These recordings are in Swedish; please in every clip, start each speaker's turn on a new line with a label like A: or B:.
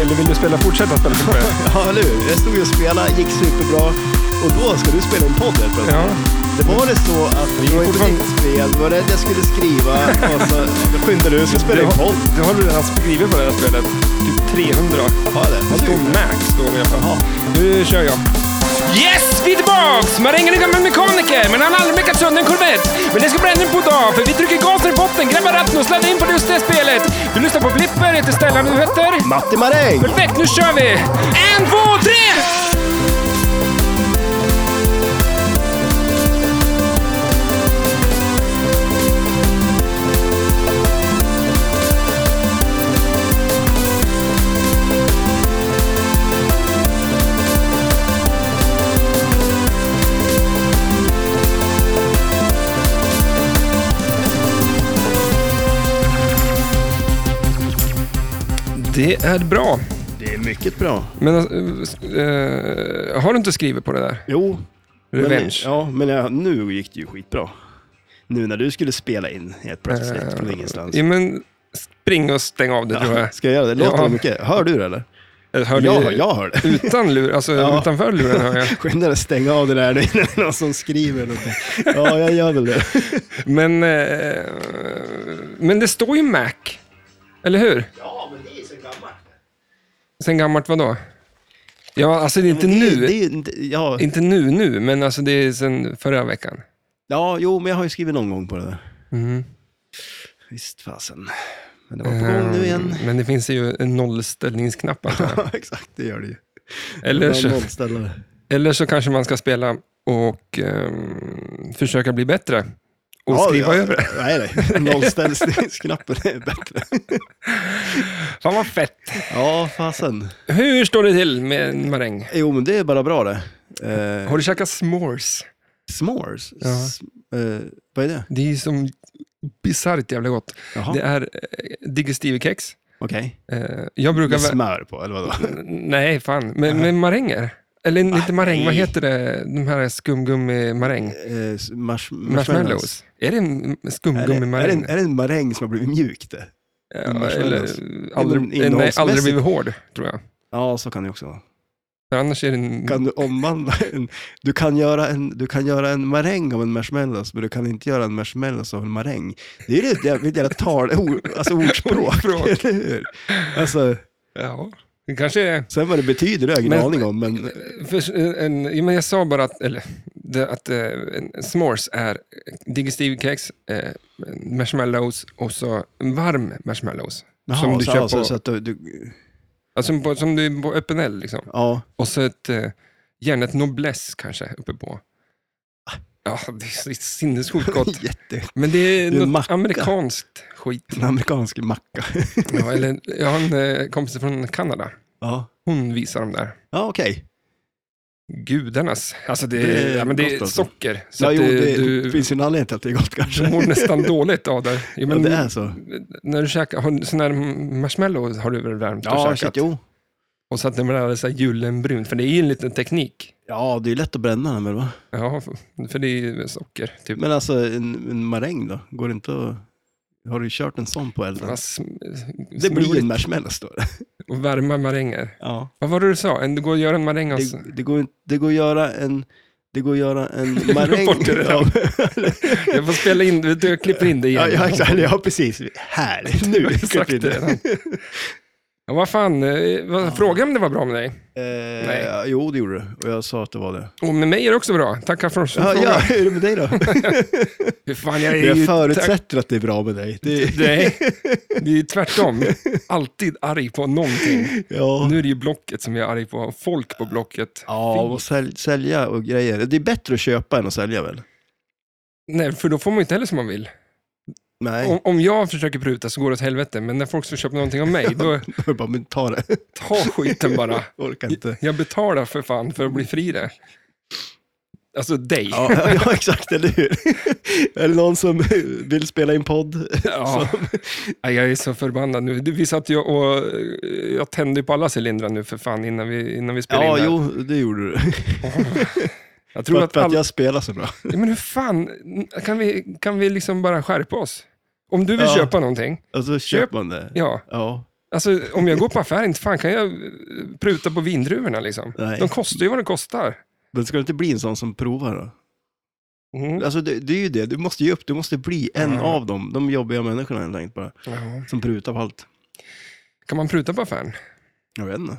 A: Eller vill du spela, fortsätta spela flipper?
B: Ja, eller hur? Jag stod ju och spelade, gick superbra. Och då ska du spela en podd helt plötsligt.
A: Ja.
B: Det var det så att
A: Vi
B: det var inte
A: fortfarande-
B: mitt spel, det var det jag skulle skriva. eh, Och så skyndade du, ska spela
A: Du
B: en
A: har-
B: podd.
A: Du har redan skrivit på det här spelet. Typ 300.
B: Ja, det.
A: Det står max då i alla fall. Nu kör jag. Yes, vi är tillbaks! Man ringer en gammal mekaniker, men han har aldrig mekat sönder en Corvette. Men det ska bli ändring på idag, för vi trycker gasen i botten, grabbar ratten och sladdar in på just det spelet. Du lyssnar på Blipper, jag heter Stellan, du heter?
B: Matti Maräng!
A: Perfekt, nu kör vi! En, två, tre! Det är bra.
B: Det är mycket bra.
A: Men eh, eh, har du inte skrivit på det där?
B: Jo. Men,
A: Revenge.
B: ja, men ja, nu gick det ju skitbra. Nu när du skulle spela in helt plötsligt från ingenstans.
A: Ja, men spring och stäng av det tror jag.
B: Alltså. Ska jag göra det? Låter
A: Ja.
B: det mycket? Hör du det eller?
A: Jag hör
B: jag,
A: det
B: hör- jag hör det.
A: Utan lur, alltså
B: Ja.
A: utanför luren hör jag.
B: Skynda dig att stänga av det där nu innan det är någon som skriver någonting. Ja, jag gör väl det.
A: Men, eh, men det står ju Mac. Eller hur?
B: Ja, men det är så gammalt.
A: Sen gammalt vadå? Ja, alltså det är inte
B: Men det är-
A: nu.
B: Det är, inte- ja,
A: Inte nu nu, men alltså det är sen förra veckan.
B: ja, jo, men jag har ju skrivit någon gång på det där.
A: Mhm.
B: Visst fasen. Men det var på gång nu igen.
A: Eh, Men det finns ju en nollställningsknapp antar jag.
B: Ja, exakt, det gör det ju.
A: eller,
B: Men
A: så,
B: nollställare.
A: eller så kanske man ska spela och ehm, försöka bli bättre. Och
B: Ja,
A: skriva
B: ja.
A: över det.
B: Nej, nej. Nollställningsknappen är bättre.
A: Fan vad fett.
B: Ja, fasen.
A: Hur står det till med en maräng?
B: Jo, men det är bara bra det. Eh,
A: Har du käkat s'mores?
B: S'mores?
A: Ja.
B: S- eh, vad är det?
A: Det är ju som bisarrt jävla gott.
B: Jaha,
A: Det är eh, digestivkex.
B: okej.
A: Eh, jag brukar...
B: Med
A: vä-
B: smör på, eller vadå?
A: Nej, fan. Men med maränger. Eller inte maräng, vad
B: Ah, nej.
A: heter det? De här skumgummi-maräng.
B: Eh, s- mars-
A: Marshmallows. Är det en
B: Är det, är, det en,
A: skumgummi-maräng?
B: är det en maräng som har blivit mjuk det?
A: Ja,
B: marshmallows?
A: eller aldrig,
B: Ja, men
A: nej, aldrig
B: innehållsmässigt.
A: blivit hård, tror jag.
B: Ja, så kan det också vara.
A: För annars är det en...
B: Kan du omvandla en... Du kan göra en, du kan göra en maräng av en marshmallows, men du kan inte göra en marshmallows av en maräng. Det är ju ett jävla, ett jävla tal, or, alltså ordspråk,
A: Ordspråk.
B: eller hur? Alltså,
A: Ja, det kanske är...
B: sen vad det betyder, det har jag ingen
A: Men-
B: aning om, men...
A: För, en, ja, men jag sa bara att, eller, det, att eh, en s'mores är digestivkex, eh, marshmallows och så varm marshmallows.
B: Jaha,
A: som du
B: så,
A: kör
B: ja,
A: på,
B: så, så att du, du,
A: alltså, på, som du på öppen eld. Liksom.
B: ja,
A: Och så ett, eh, gärna ett noblesse kanske uppe på. Ja, det är så sinnessjukt gott.
B: jätte...
A: Men det är
B: Det är
A: något
B: macka.
A: amerikanskt skit.
B: En amerikansk macka.
A: Ja, eller, jag har en eh, kompis från Kanada.
B: Ja,
A: Hon visar dem där.
B: ja okej.
A: Gudarnas. Alltså det,
B: Det är
A: ja, men det är
B: gott alltså.
A: socker. Så
B: Ja,
A: att
B: jo,
A: det-
B: det
A: du-
B: finns ju en anledning till att det är gott
A: Du
B: kanske.
A: mår nästan dåligt av det. Jo, men
B: ja, det är så.
A: När du käkar, har, sån här marshmallow har du väl värmt och käkat?
B: jo.
A: Och så att den blir så här julenbrun, för det är ju en liten teknik.
B: Ja, det är lätt att bränna den väl va?
A: Ja, för- för det är ju socker. Typ.
B: Men alltså en, en maräng då? Går det inte att... Har du kört en sån på elden?
A: Alltså,
B: det blir en marshmallows då.
A: Och värma maränger.
B: Ja.
A: Vad var det du sa? En- Det går att göra en maräng av...
B: Det, det, går, inte- det går att göra en... Det går att göra en maräng...
A: bort det där.
B: ja,
A: Jag får spela in, du- jag klipper in det igen.
B: ja, ja, exakt. ja, precis. Här,
A: Jag
B: nu.
A: har sagt det redan. Ja, vad fan, eh, vad, fråga om det var bra med dig.
B: Eh,
A: Nej.
B: ja, Jo, det gjorde du. Och jag sa att det var det.
A: Och med mig är det också bra. Tackar för
B: Ja,
A: frågan.
B: ja, hur är det med dig då?
A: Fy Fan, jag är
B: Jag
A: ju
B: förutsätter att det är bra med dig. Det,
A: Nej, det är ju tvärtom. Alltid arg på någonting.
B: ja.
A: Nu är det ju Blocket som jag är arg på, och folk på Blocket.
B: Ja, och sälj, sälja och grejer. Det är bättre att köpa än att sälja väl?
A: Nej, för då får man ju inte heller som man vill.
B: Nej,
A: Om, om jag försöker pruta så går det åt helvete, men när folk ska köpa någonting av mig, då
B: då är det bara, men ta det.
A: ta skiten bara.
B: Orkar inte.
A: Jag betalar för fan för att bli fri det. Alltså dig. Ja.
B: Ja, ja, exakt, eller hur? Är det någon som vill spela in podd?
A: Nej, Jag är så förbannad nu. Du, Vi satt ju och... eh, Jag tände ju på alla cylindrar nu för fan innan vi, innan vi spelade
B: Ja,
A: in.
B: jo, det gjorde du.
A: Jag
B: För
A: tror
B: att,
A: att
B: för att
A: alla...
B: jag spelar så bra.
A: Ja, Men hur fan, kan vi, kan vi liksom bara skärpa oss? Om du vill
B: Ja.
A: köpa någonting,
B: Och så
A: Köp.
B: köper Alltså, man det.
A: ja,
B: Ja.
A: Alltså, om jag går på affären, inte fan kan jag eh, pruta på vindruvorna liksom.
B: Nej.
A: De kostar ju vad de kostar.
B: Men ska du inte bli en sån som provar då?
A: Mm.
B: Alltså det, det är ju det, du måste ge upp, du måste bli en
A: Ja.
B: av dem. De jobbiga människorna helt enkelt bara,
A: Ja.
B: som prutar på allt.
A: Kan man pruta på affären?
B: Jag vet inte.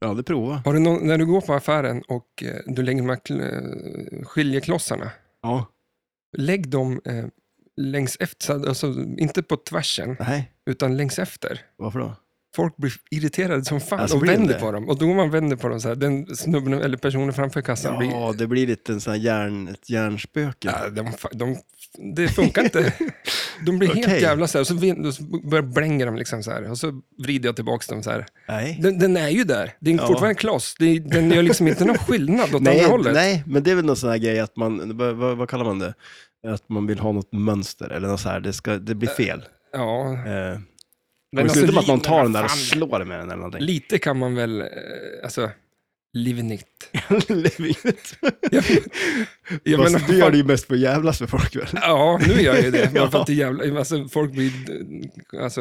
B: Jag har aldrig provat.
A: Har du någon, när du går på affären och eh, du lägger de här kl- eh, skiljeklossarna,
B: Ja.
A: lägg dem eh, längs efter, så- alltså inte på tvärsen,
B: Nej,
A: utan längs efter.
B: varför då?
A: Folk blir irriterade som fan
B: Alltså,
A: och
B: blir de
A: vänder
B: det?
A: på dem. Och då man vänder på dem så här, den snubben eller personen framför kassan blir...
B: Ja, det blir lite en sån här järn, ett hjärnspöke.
A: Ja, de, fa- de, det funkar inte. De blir helt
B: Okej.
A: jävla så här, och så, vin- och så börjar blänga dem liksom så här. Och så vrider jag tillbaka dem så här.
B: Nej.
A: Den, den är ju där, det är
B: Ja.
A: fortfarande en kloss. Det, är- den gör liksom inte någon skillnad åt andra
B: Nej,
A: hållet.
B: nej, men det är väl någon sån här grej att man, vad, vad, vad kallar man det? Att man vill ha något mönster eller något så här, det, ska, det blir fel.
A: Ja,
B: Eh, men det
A: alltså,
B: slutar med att någon
A: linorna,
B: tar den där och
A: fan.
B: slår med den eller någonting.
A: Lite kan man väl, eh, alltså, living it.
B: Living it.
A: Jag, jag
B: Fast
A: menar,
B: du gör
A: fan-
B: det ju mest för att jävlas med folk väl?
A: Ja, nu gör jag ju det. Bara för
B: Ja.
A: att det är jävla, alltså, folk blir eh, alltså,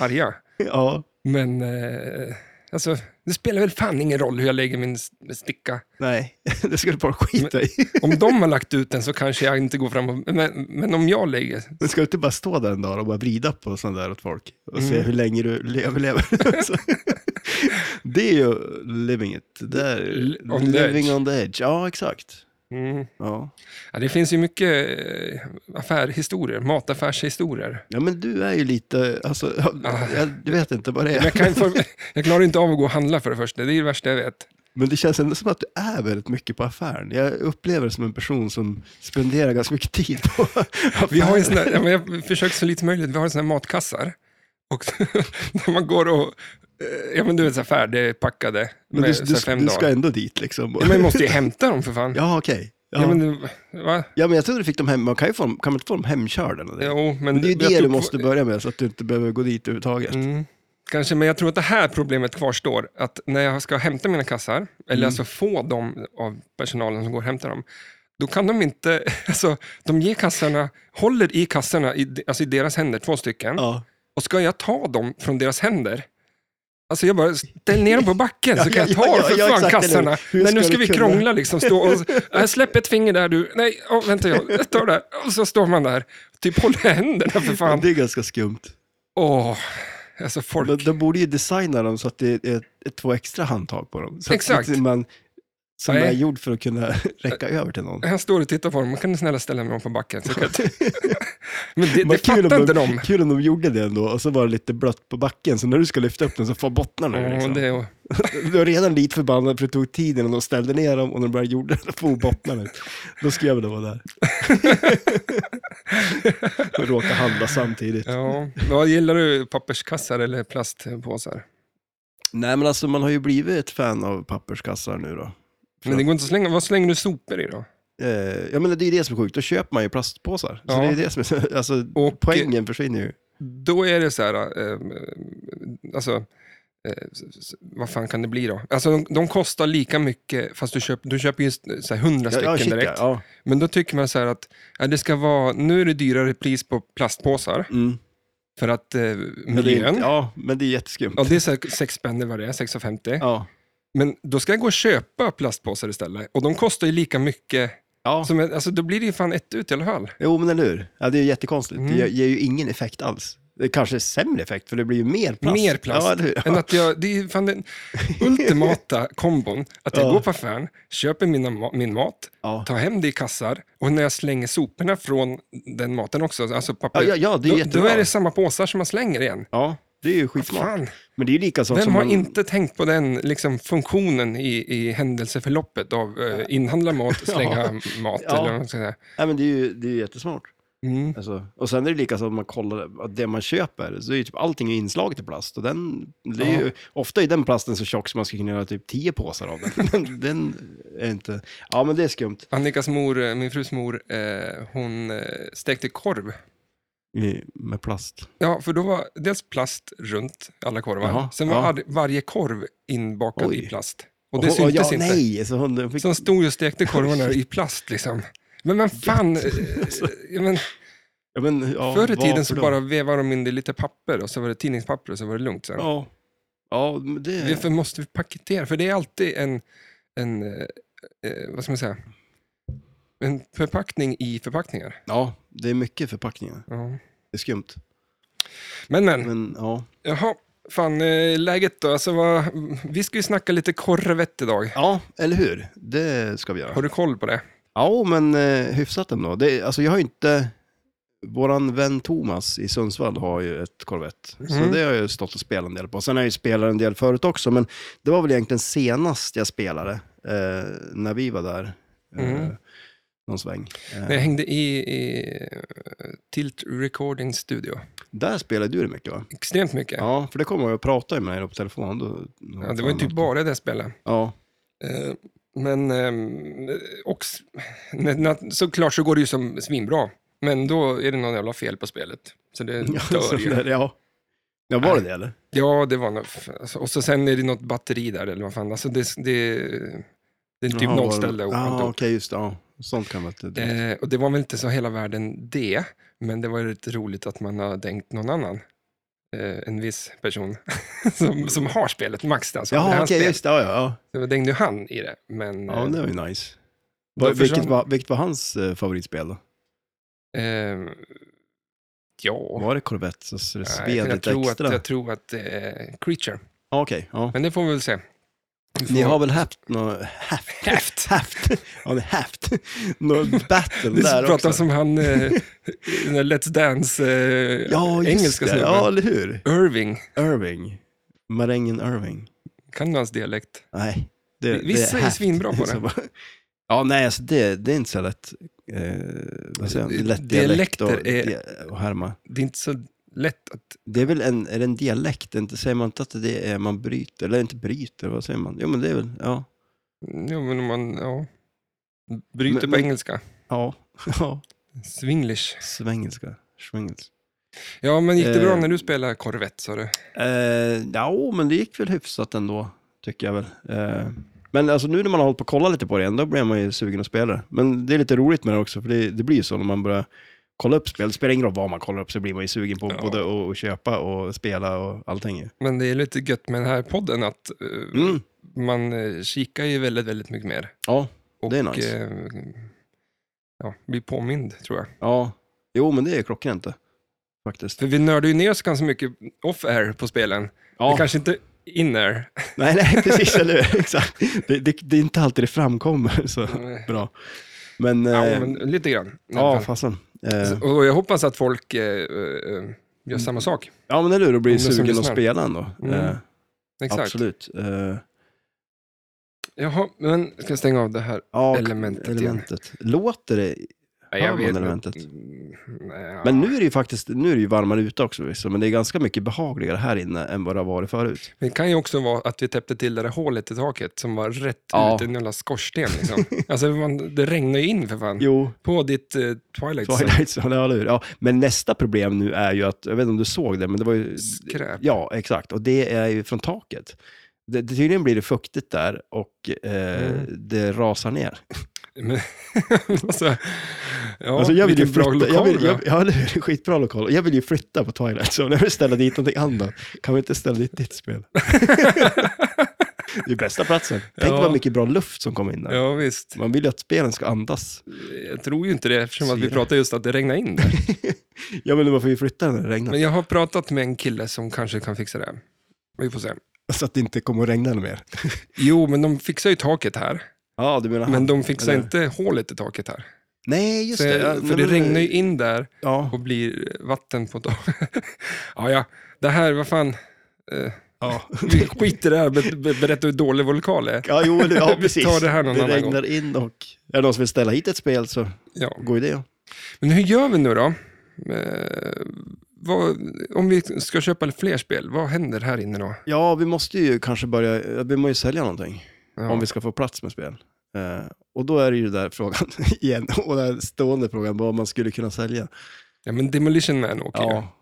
A: arga.
B: Ja.
A: Men eh, alltså, det spelar väl fan ingen roll hur jag lägger min s- sticka.
B: Nej, det ska du bara skita i.
A: Om de har lagt ut den så kanske jag inte går fram och, men, men om jag lägger...
B: Men ska du inte bara stå där en dag och bara vrida på sånt där åt folk och se
A: Mm.
B: hur länge du lever? lever. Alltså, det är ju living it. Det där,
A: L- on the
B: living
A: edge.
B: on the edge. Ja, exakt.
A: Mm.
B: Ja.
A: Ja, det finns ju mycket eh, affärhistorier, mataffärshistorier.
B: ja, men du är ju lite, alltså,
A: Ah.
B: jag, jag vet inte vad det
A: Men
B: är.
A: jag, kan, för, jag klarar inte av att gå och handla för det första, det är det värsta jag vet.
B: Men det känns ändå som att du är väldigt mycket på affären. Jag upplever dig som en person som spenderar ganska mycket tid på affären.
A: Vi har ju såna, ja, men jag försöker så lite som möjligt, vi har såna här matkassar. Och när man går och, eh, ja men du vet så här färdigpackade,
B: men
A: med
B: du,
A: så
B: du,
A: här fem
B: du
A: dagar.
B: ska ändå dit liksom.
A: Ja, men jag måste ju hämta dem för fan. Ja,
B: Ja, okej. Ja.
A: men, det- va?
B: jag trodde du fick dem hem, man kan ju få dem, kan man inte få dem hemkörda? Eller?
A: Jo, men
B: Men det är ju
A: jag
B: det
A: tror-
B: du måste börja med, så att du inte behöver gå dit överhuvudtaget.
A: Mm. Kanske, men jag tror att det här problemet kvarstår. Att när jag ska hämta mina kassar, eller
B: Mm.
A: alltså få dem av personalen som går och hämtar dem, då kan de inte, alltså de ger kassarna, håller i kassarna, i, de- alltså i deras händer, två stycken.
B: Ja.
A: Och ska jag ta dem från deras händer, alltså jag bara, ställ ner dem på backen så
B: Ja,
A: kan jag
B: ja,
A: ta
B: ja,
A: för
B: ja,
A: fan
B: exakt, eller
A: kassarna.
B: hur? Hur
A: Nej, nu
B: ska
A: ska
B: du
A: vi
B: kunna?
A: kronla liksom. Stå och, äh, släpp ett finger där du, nej, åh, vänta jag, jag tar det här. Och så står man där, typ håller händerna för fan.
B: Det är ganska skumt.
A: Åh, alltså folk.
B: Men de borde ju designa dem så att det är ett, två extra handtag på dem. Så att
A: Exakt.
B: inte Man, som
A: Nej.
B: är gjord för att kunna räcka över till någon.
A: Han står och tittar på dem. Kan du snälla ställa mig om på backen? Så kan jag ta- Men det,
B: Vad
A: det fattar inte
B: de,
A: de.
B: kul om de gjorde det ändå och så var det lite blött på backen, så när du ska lyfta upp den så får bottnarna ur,
A: Ja,
B: liksom.
A: det, är-
B: Du var redan lite förbannad för det tog tid innan de ställde ner dem och när de började gjorde det, får bottnarna ut. Då ska jag väl vara där. och råka handla samtidigt.
A: ja. Vad gillar du? Papperskassar eller plastpåsar?
B: Nej, men alltså man har ju blivit ett fan av papperskassar nu då.
A: Men det går inte att slänga. Vad slänger du sopor i då?
B: Eh, ja, men det är ju det som är sjukt. Då köper man ju plastpåsar.
A: Ja.
B: Så det är det som är, alltså,
A: Och-
B: poängen försvinner ju.
A: Då är det så här, eh, alltså, eh, s- s- vad fan kan det bli då? Alltså, de, de kostar lika mycket, fast du köper, du köper ju så här 100 stycken
B: shit,
A: direkt.
B: Ja.
A: Men då tycker man så här att ja, det ska vara, nu är det dyrare pris på plastpåsar
B: Mm.
A: för att eh,
B: Men det är,
A: miljön.
B: inte- ja, men det är jätteskumt.
A: Ja, det är så här 6 spänn eller vad det är, 6,50.
B: Ja.
A: Men då ska jag gå och köpa plastpåsar istället. Och de kostar ju lika mycket.
B: Ja.
A: Som, alltså, då blir det ju fan ett ut i alla fall.
B: Jo, men eller hur? Ja, det är ju jättekonstigt.
A: Mm.
B: Det ger- ger ju ingen effekt alls. Det kanske är sämre effekt, för det blir ju mer plast.
A: Mer plast.
B: Ja, eller hur? Ja.
A: Än att jag, det är ju fan den ultimata kombon. Att jag
B: Ja.
A: går på affären, köper mina, ma- min mat,
B: Ja.
A: tar hem det i kassar och när jag slänger soporna från den maten också, alltså papper,
B: Ja, ja, ja, det är
A: då,
B: jättebra.
A: då är det samma påsar som man slänger igen.
B: Ja, det är ju skitsmart.
A: Fan,
B: Men det är ju lika sak
A: vem
B: som
A: har
B: Alltså, man...
A: inte tänkt på den liksom, funktionen i, i händelseförloppet av eh, inhandla mat, slänga mat
B: Ja.
A: eller vad man ska säga.
B: Nej, men det är ju, det är ju jättesmart.
A: Mm.
B: Alltså, och sen är det lika så att man kollar att det man köper, så är ju typ allting är inslaget i plast. Och den, det är ju, ofta är den plasten så tjock så man skulle kunna göra typ tio påsar av den. Men den är inte... Ja, men det är skumt.
A: Annikas mor, eh, min frus mor, eh, hon eh, stekte korv.
B: I- Med plast.
A: Ja, för då var dels plast runt alla korvar.
B: Jaha,
A: Sen var
B: ja.
A: ar- varje korv inbakad
B: Oj.
A: i plast. Och det
B: Och- och
A: syntes
B: ja,
A: inte.
B: Nej, så hon den fick...
A: Så hon stod och stekte korvarna i plast liksom. Men vem fan, eh, ja, men
B: ja, men, ja,
A: förr i tiden
B: varför
A: så
B: då?
A: bara vevade de in det i lite papper och så var det tidningspapper och så var det lugnt sen.
B: Ja, Ja, men det...
A: Därför måste vi paketera, för det är alltid en, en eh, eh, vad ska man säga, en förpackning i förpackningar.
B: Ja, det är mycket förpackningar.
A: Ja.
B: Det är skumt.
A: Men men,
B: Men ja.
A: jaha, fan eh, läget då? Alltså, vad, vi ska ju snacka lite korvett idag.
B: Ja, eller hur? Det ska vi göra.
A: Har du koll på det?
B: Ja, men eh, hyfsat ändå. Det, alltså jag har ju inte... Våran vän Thomas i Sundsvall har ju ett Corvette, så
A: Mm.
B: det har jag ju stått och spelat en del på. Sen har jag ju spelat en del förut också, men det var väl egentligen senast jag spelade, eh, när vi var där. Eh,
A: Mm.
B: någon sväng. Eh,
A: När jag hängde i, i eh, Tilt Recording Studio.
B: där spelade du det mycket va?
A: Extremt mycket. Ja,
B: Ja, för det kom jag och pratade med dig på telefon. Då, då
A: det var ju typ bara det spelet.
B: Ja,
A: Eh, Men ehm, och, s- när- när- såklart så går det ju som svinbra. Men då är det någon jävla fel på spelet. Så det
B: ja,
A: stör ju.
B: ja. ja var det det eller?
A: Ja, det var något, alltså, Och så sen är det något batteri där eller vad fan. Alltså det, det, det är typ
B: Jaha, var det- ah,
A: nollställde och
B: Ja, okej,
A: alltihop.
B: just det. Ja. Sånt kan vara ett...
A: Eh, och det var väl inte så hela världen det. Men det var ju lite roligt att man har dänkt någon annan. Eh, en viss person som, som har spelet, Max alltså. Det är
B: Ja, okej,
A: hans spel.
B: just det. Ja, ja, ja.
A: Så dängde ju han i det. Men,
B: Ja,
A: eh,
B: det var ju nice.
A: Då
B: Vad- vilket,
A: försvann-
B: var, vilket var hans eh, favoritspel då?
A: Eh, ja,
B: Var det Corvette så så det
A: Nej,
B: sved
A: jag,
B: lite
A: tror
B: extra?
A: att, jag tror att det är Creature.
B: Ja, Okej, ja.
A: Men det får vi väl se. Vi
B: Ni
A: får-
B: har väl haft något... Haft?
A: Haft.
B: haft. Ja, ni haft. Något battle
A: Det
B: där
A: pratar
B: också.
A: som han, eh, den där Let's Dance, eh,
B: Ja, just
A: engelska
B: det.
A: snubben.
B: Ja, eller hur?
A: Irving.
B: Irving. Marängen Irving.
A: Kan du hans dialekt?
B: Nej. Det,
A: Vissa
B: det
A: är
B: haft.
A: svinbra på det.
B: Så bara- Ja, nej, alltså det, det är inte så lätt. Eh, vad säger jag? Lätt dialekt och,
A: Dialekter är-
B: di- och härma.
A: Det är inte så lätt att...
B: Det är väl en, är det en dialekt? Inte, säger man inte att det är man bryter? Eller inte bryter, vad säger man? Jo, men det är väl, ja.
A: Jo, men om man, ja. Bryter
B: Men-
A: på
B: men-
A: engelska.
B: Ja, ja.
A: Swinglish.
B: Svengelska. Svengels.
A: Ja, men gick det bra
B: Eh.
A: när du spelade korvett, sa du?
B: Eh, ja, men det gick väl hyfsat ändå, tycker jag väl. Eh, men alltså nu när man har hållit på och kollat lite på det igen, då blir man ju sugen att spela det. Men det är lite roligt med det också, för det, det blir ju så när man börjar kolla upp spel. Det spelar ingen roll vad man kollar upp, så blir man ju sugen på
A: Ja.
B: både att att köpa och spela och allting. ju.
A: Men det är lite gött med den här podden att eh,
B: Mm.
A: man eh, kikar ju väldigt, väldigt mycket mer.
B: Ja,
A: Och,
B: Det är nice.
A: eh, ja, bli påmind, tror jag.
B: ja. Jo, men det är klockrent det, faktiskt.
A: För vi nördar ju ner oss ganska mycket off-air på spelen.
B: Ja.
A: Vi kanske inte in-air.
B: Nej, nej, precis, eller hur? Exakt. Det, det, det är inte alltid det framkommer så
A: Nej.
B: bra. Men,
A: Ja,
B: eh,
A: men lite grann. i alla
B: ja,
A: fall.
B: fasen. Eh,
A: Och jag hoppas att folk eh, eh, gör
B: Mm.
A: samma sak.
B: ja, men eller hur, då blir
A: Om det som
B: sugen att
A: lyssnar.
B: spela ändå.
A: Mm,
B: Eh,
A: Exakt.
B: Absolut. Eh,
A: Jaha, men ska jag stänga av det här?
B: ja,
A: Elementet
B: elementet. Låter det?
A: Nej,
B: Hör man elementet?
A: inte. Mm, nej,
B: Men
A: ja.
B: nu är det ju faktiskt nu är det ju varmare ute också, visst, men det är ganska mycket behagligare här inne än vad det har varit förut.
A: Det kan ju också vara att vi täppte till det där hålet i taket som var rätt
B: Ja.
A: ut i en jävla skorsten. Liksom. alltså, man, det regnar ju in för fan.
B: Jo,
A: På ditt eh, Twilight, Zone.
B: Twilight Zone, ja, eller hur? Ja, men nästa problem nu är ju att, jag vet inte om du såg det, men det var ju...
A: skräp.
B: Ja, exakt. Och det är ju från taket. Det, det, tydligen blir det fuktigt där och eh,
A: Mm.
B: det rasar ner.
A: Men, alltså, ja,
B: Alltså, jag vill ju
A: vilken bra
B: flytta, jag
A: lokal
B: vill,
A: vi har.
B: jag, ja, eller hur? Skitbra lokal. Och Jag vill ju flytta på Twilight Zone. Jag vill ställa dit någonting annat. Kan vi inte ställa dit ditt spel? det är bästa platsen. Tänk
A: Ja.
B: vad mycket bra luft som kommer in där.
A: Ja, visst.
B: Man vill ju att spelen ska andas.
A: Jag tror ju inte det eftersom att vi
B: Syre.
A: pratade just att det regnar in där.
B: Ja, men man får ju flytta när det regnar.
A: Men jag har pratat med en kille som kanske kan fixa det. Vi får se.
B: Så att det inte kommer att regna ännu mer.
A: Jo, men de fixar ju taket här.
B: Ja, du menar
A: Men de fixar
B: eller?
A: inte hålet i taket här.
B: Nej, just
A: Så,
B: det. Ja,
A: för
B: nej,
A: det
B: men- eh,
A: regnar ju in där
B: Ja.
A: och blir vatten på taket. ja, ja, det här, vad fan. Eh,
B: Ja.
A: vi skiter i det här, ber- ber- berätta hur dålig vår lokal är.
B: Ja, jo, det, ja
A: Vi
B: precis.
A: tar det här någon annan
B: regnar in och... Är det någon som vill ställa hit ett spel så
A: Ja.
B: god idé.
A: Men hur gör vi nu då? Eh, vad, om vi ska köpa fler spel, vad händer här inne då?
B: Ja, vi måste ju kanske börja... Vi måste ju sälja någonting.
A: Ja.
B: om vi ska få plats med spel. Eh, och då är det ju där frågan igen, och den här stående frågan vad man skulle kunna sälja.
A: ja, men Demolition Man åker ju.
B: Ja,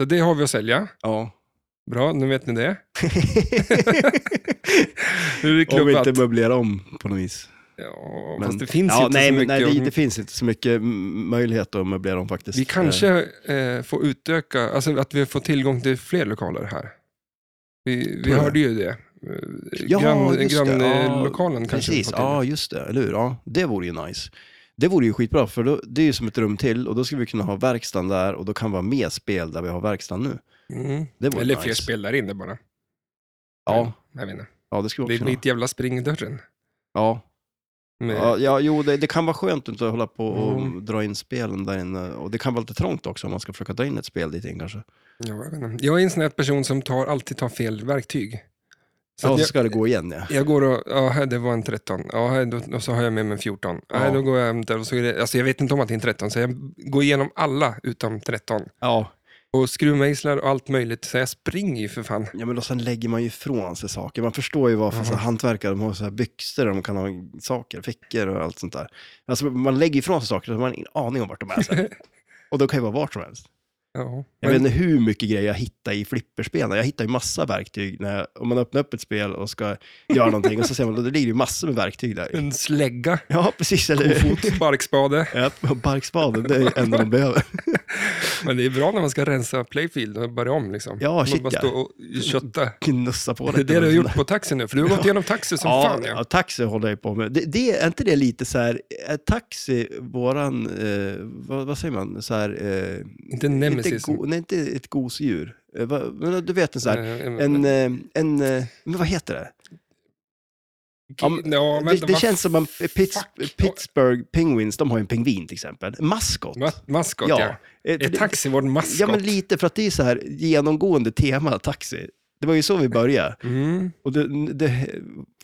A: Så det har vi att sälja.
B: ja.
A: Bra, nu vet ni det. Nu är det
B: om vi
A: klubbat.
B: inte möblerar om på något vis.
A: Ja,
B: Men-
A: fast det finns
B: ja,
A: inte
B: nej,
A: så
B: men-
A: mycket.
B: Nej, det,
A: om-
B: det finns inte så mycket mm, möjlighet att möblera om faktiskt.
A: Vi
B: Eh,
A: kanske eh, får utöka, alltså att vi får tillgång till fler lokaler här. Vi, vi
B: Tror jag.
A: hörde ju det.
B: Ja,
A: Grannlokalen
B: just det.
A: grann,
B: Ja,
A: eh, lokalen kanske.
B: Precis,
A: vi får till.
B: ja just det, eller hur? Ja, det vore ju nice. Det vore ju skitbra, för då, det är ju som ett rum till och då skulle vi kunna ha verkstaden där och då kan vi ha med spel där vi har verkstaden nu.
A: Mm.
B: Det vore
A: Eller
B: nice.
A: fler spel där inne bara.
B: Ja,
A: Jag vet inte.
B: ja det skulle vi
A: Mm. Det blir
B: också kunna ha.
A: ett jävla spring i dörren.
B: Ja,
A: Med,
B: ja, ja jo, det, det kan vara skönt att inte hålla på och
A: Mm.
B: dra in spelen där inne. Och det kan vara lite trångt också om man ska försöka dra in ett spel dit in kanske.
A: ja, jag, vet inte. jag är en sån här person som tar, alltid tar fel verktyg. Så
B: Ja,
A: att
B: så
A: jag,
B: ska det gå igen ja.
A: jag går och, ja här, det var en 13, ja, här, då, och så har jag med mig en 14. Ja. Här,
B: Ja.
A: då går jag hem där och så är det, alltså jag vet inte om att det är en 13, så jag går igenom alla utom 13.
B: Ja,
A: Och skruvmejslar och allt möjligt, så jag springer ju för fan.
B: ja men då sen lägger man ju ifrån sig saker. Man förstår ju varför
A: Mhm.
B: så här hantverkare, de har så här byxor, de kan ha saker, fickor och allt sånt där. Alltså man lägger ifrån sig saker, så man har ingen aning om vart de är sen. och då kan ju vara vart som helst.
A: Ja,
B: Jag
A: men,
B: vet inte hur mycket grejer jag hittar i flipperspelen. Jag hittar ju massa verktyg. När jag, om man öppnar upp ett spel och ska göra någonting och så ser man att det ligger ju massor med verktyg där.
A: en slägga,
B: Ja, precis. Eller hur?
A: kofot, sparkspade.
B: Ja, och barkspaden, det är det enda de behöver.
A: Men det är bra när man ska rensa playfield och börja om. Liksom.
B: Ja,
A: man
B: shit,
A: bara
B: ja.
A: står och kötta.
B: Knussa på
A: Det är
B: lite.
A: det du har gjort på taxi nu, för du har gått
B: Ja.
A: igenom taxi som
B: ja,
A: fan.
B: ja,
A: Ja.
B: taxi håller jag på med. Det, det, är inte det lite så här, är taxi våran, eh, vad, vad säger man, så här, eh,
A: Inte
B: inte,
A: Nemesis.
B: go, nej, inte ett gosedjur. Eh, vad- men du vet en så här,
A: Eh,
B: en, eh, en, eh, men vad heter det?
A: ja, men- ja,
B: det
A: vänta,
B: det
A: vad
B: känns som att Pits,
A: fuck.
B: Pittsburgh Penguins, de har ju en pingvin till exempel. En Maskot.
A: Ma- Maskot, ja.
B: Eh,
A: Är
B: det-
A: taxi vår maskot?
B: Ja, men lite, för att det är så här genomgående tema, taxi. Det var ju så vi började.
A: mm.
B: Och det, det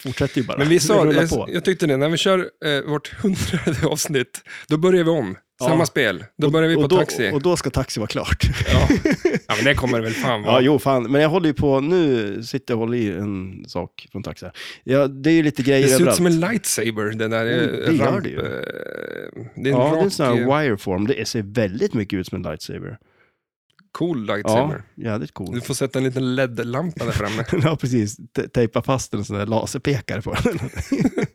B: fortsätter ju bara.
A: men vi sa,
B: Det rullar
A: jag,
B: på.
A: jag tyckte det, när vi kör eh, vårt hundrade avsnitt, då börjar vi om.
B: Ja.
A: Samma spel. Då börjar vi på
B: och då,
A: taxi.
B: Och då ska taxi vara klart.
A: Ja. ja, men det kommer det väl fan vara.
B: Ja, jo, fan. Men jag håller ju på, nu sitter jag och håller i en sak från taxi. här. Ja, det är ju lite grejer
A: det ser ut
B: överallt.
A: som en lightsaber, den där
B: Mm,
A: eh,
B: det gör
A: ramp...
B: det ju.
A: eh, Det är en
B: ja, det är en
A: rak,
B: sån här
A: eh,
B: wireform. Det ser väldigt mycket ut som en lightsaber.
A: cool
B: Ja,
A: lightsaber.
B: jävligt
A: Du
B: cool.
A: får sätta en liten LED-lampa där framme.
B: ja, precis. Te- Tejpa fast en sån där laserpekare på den.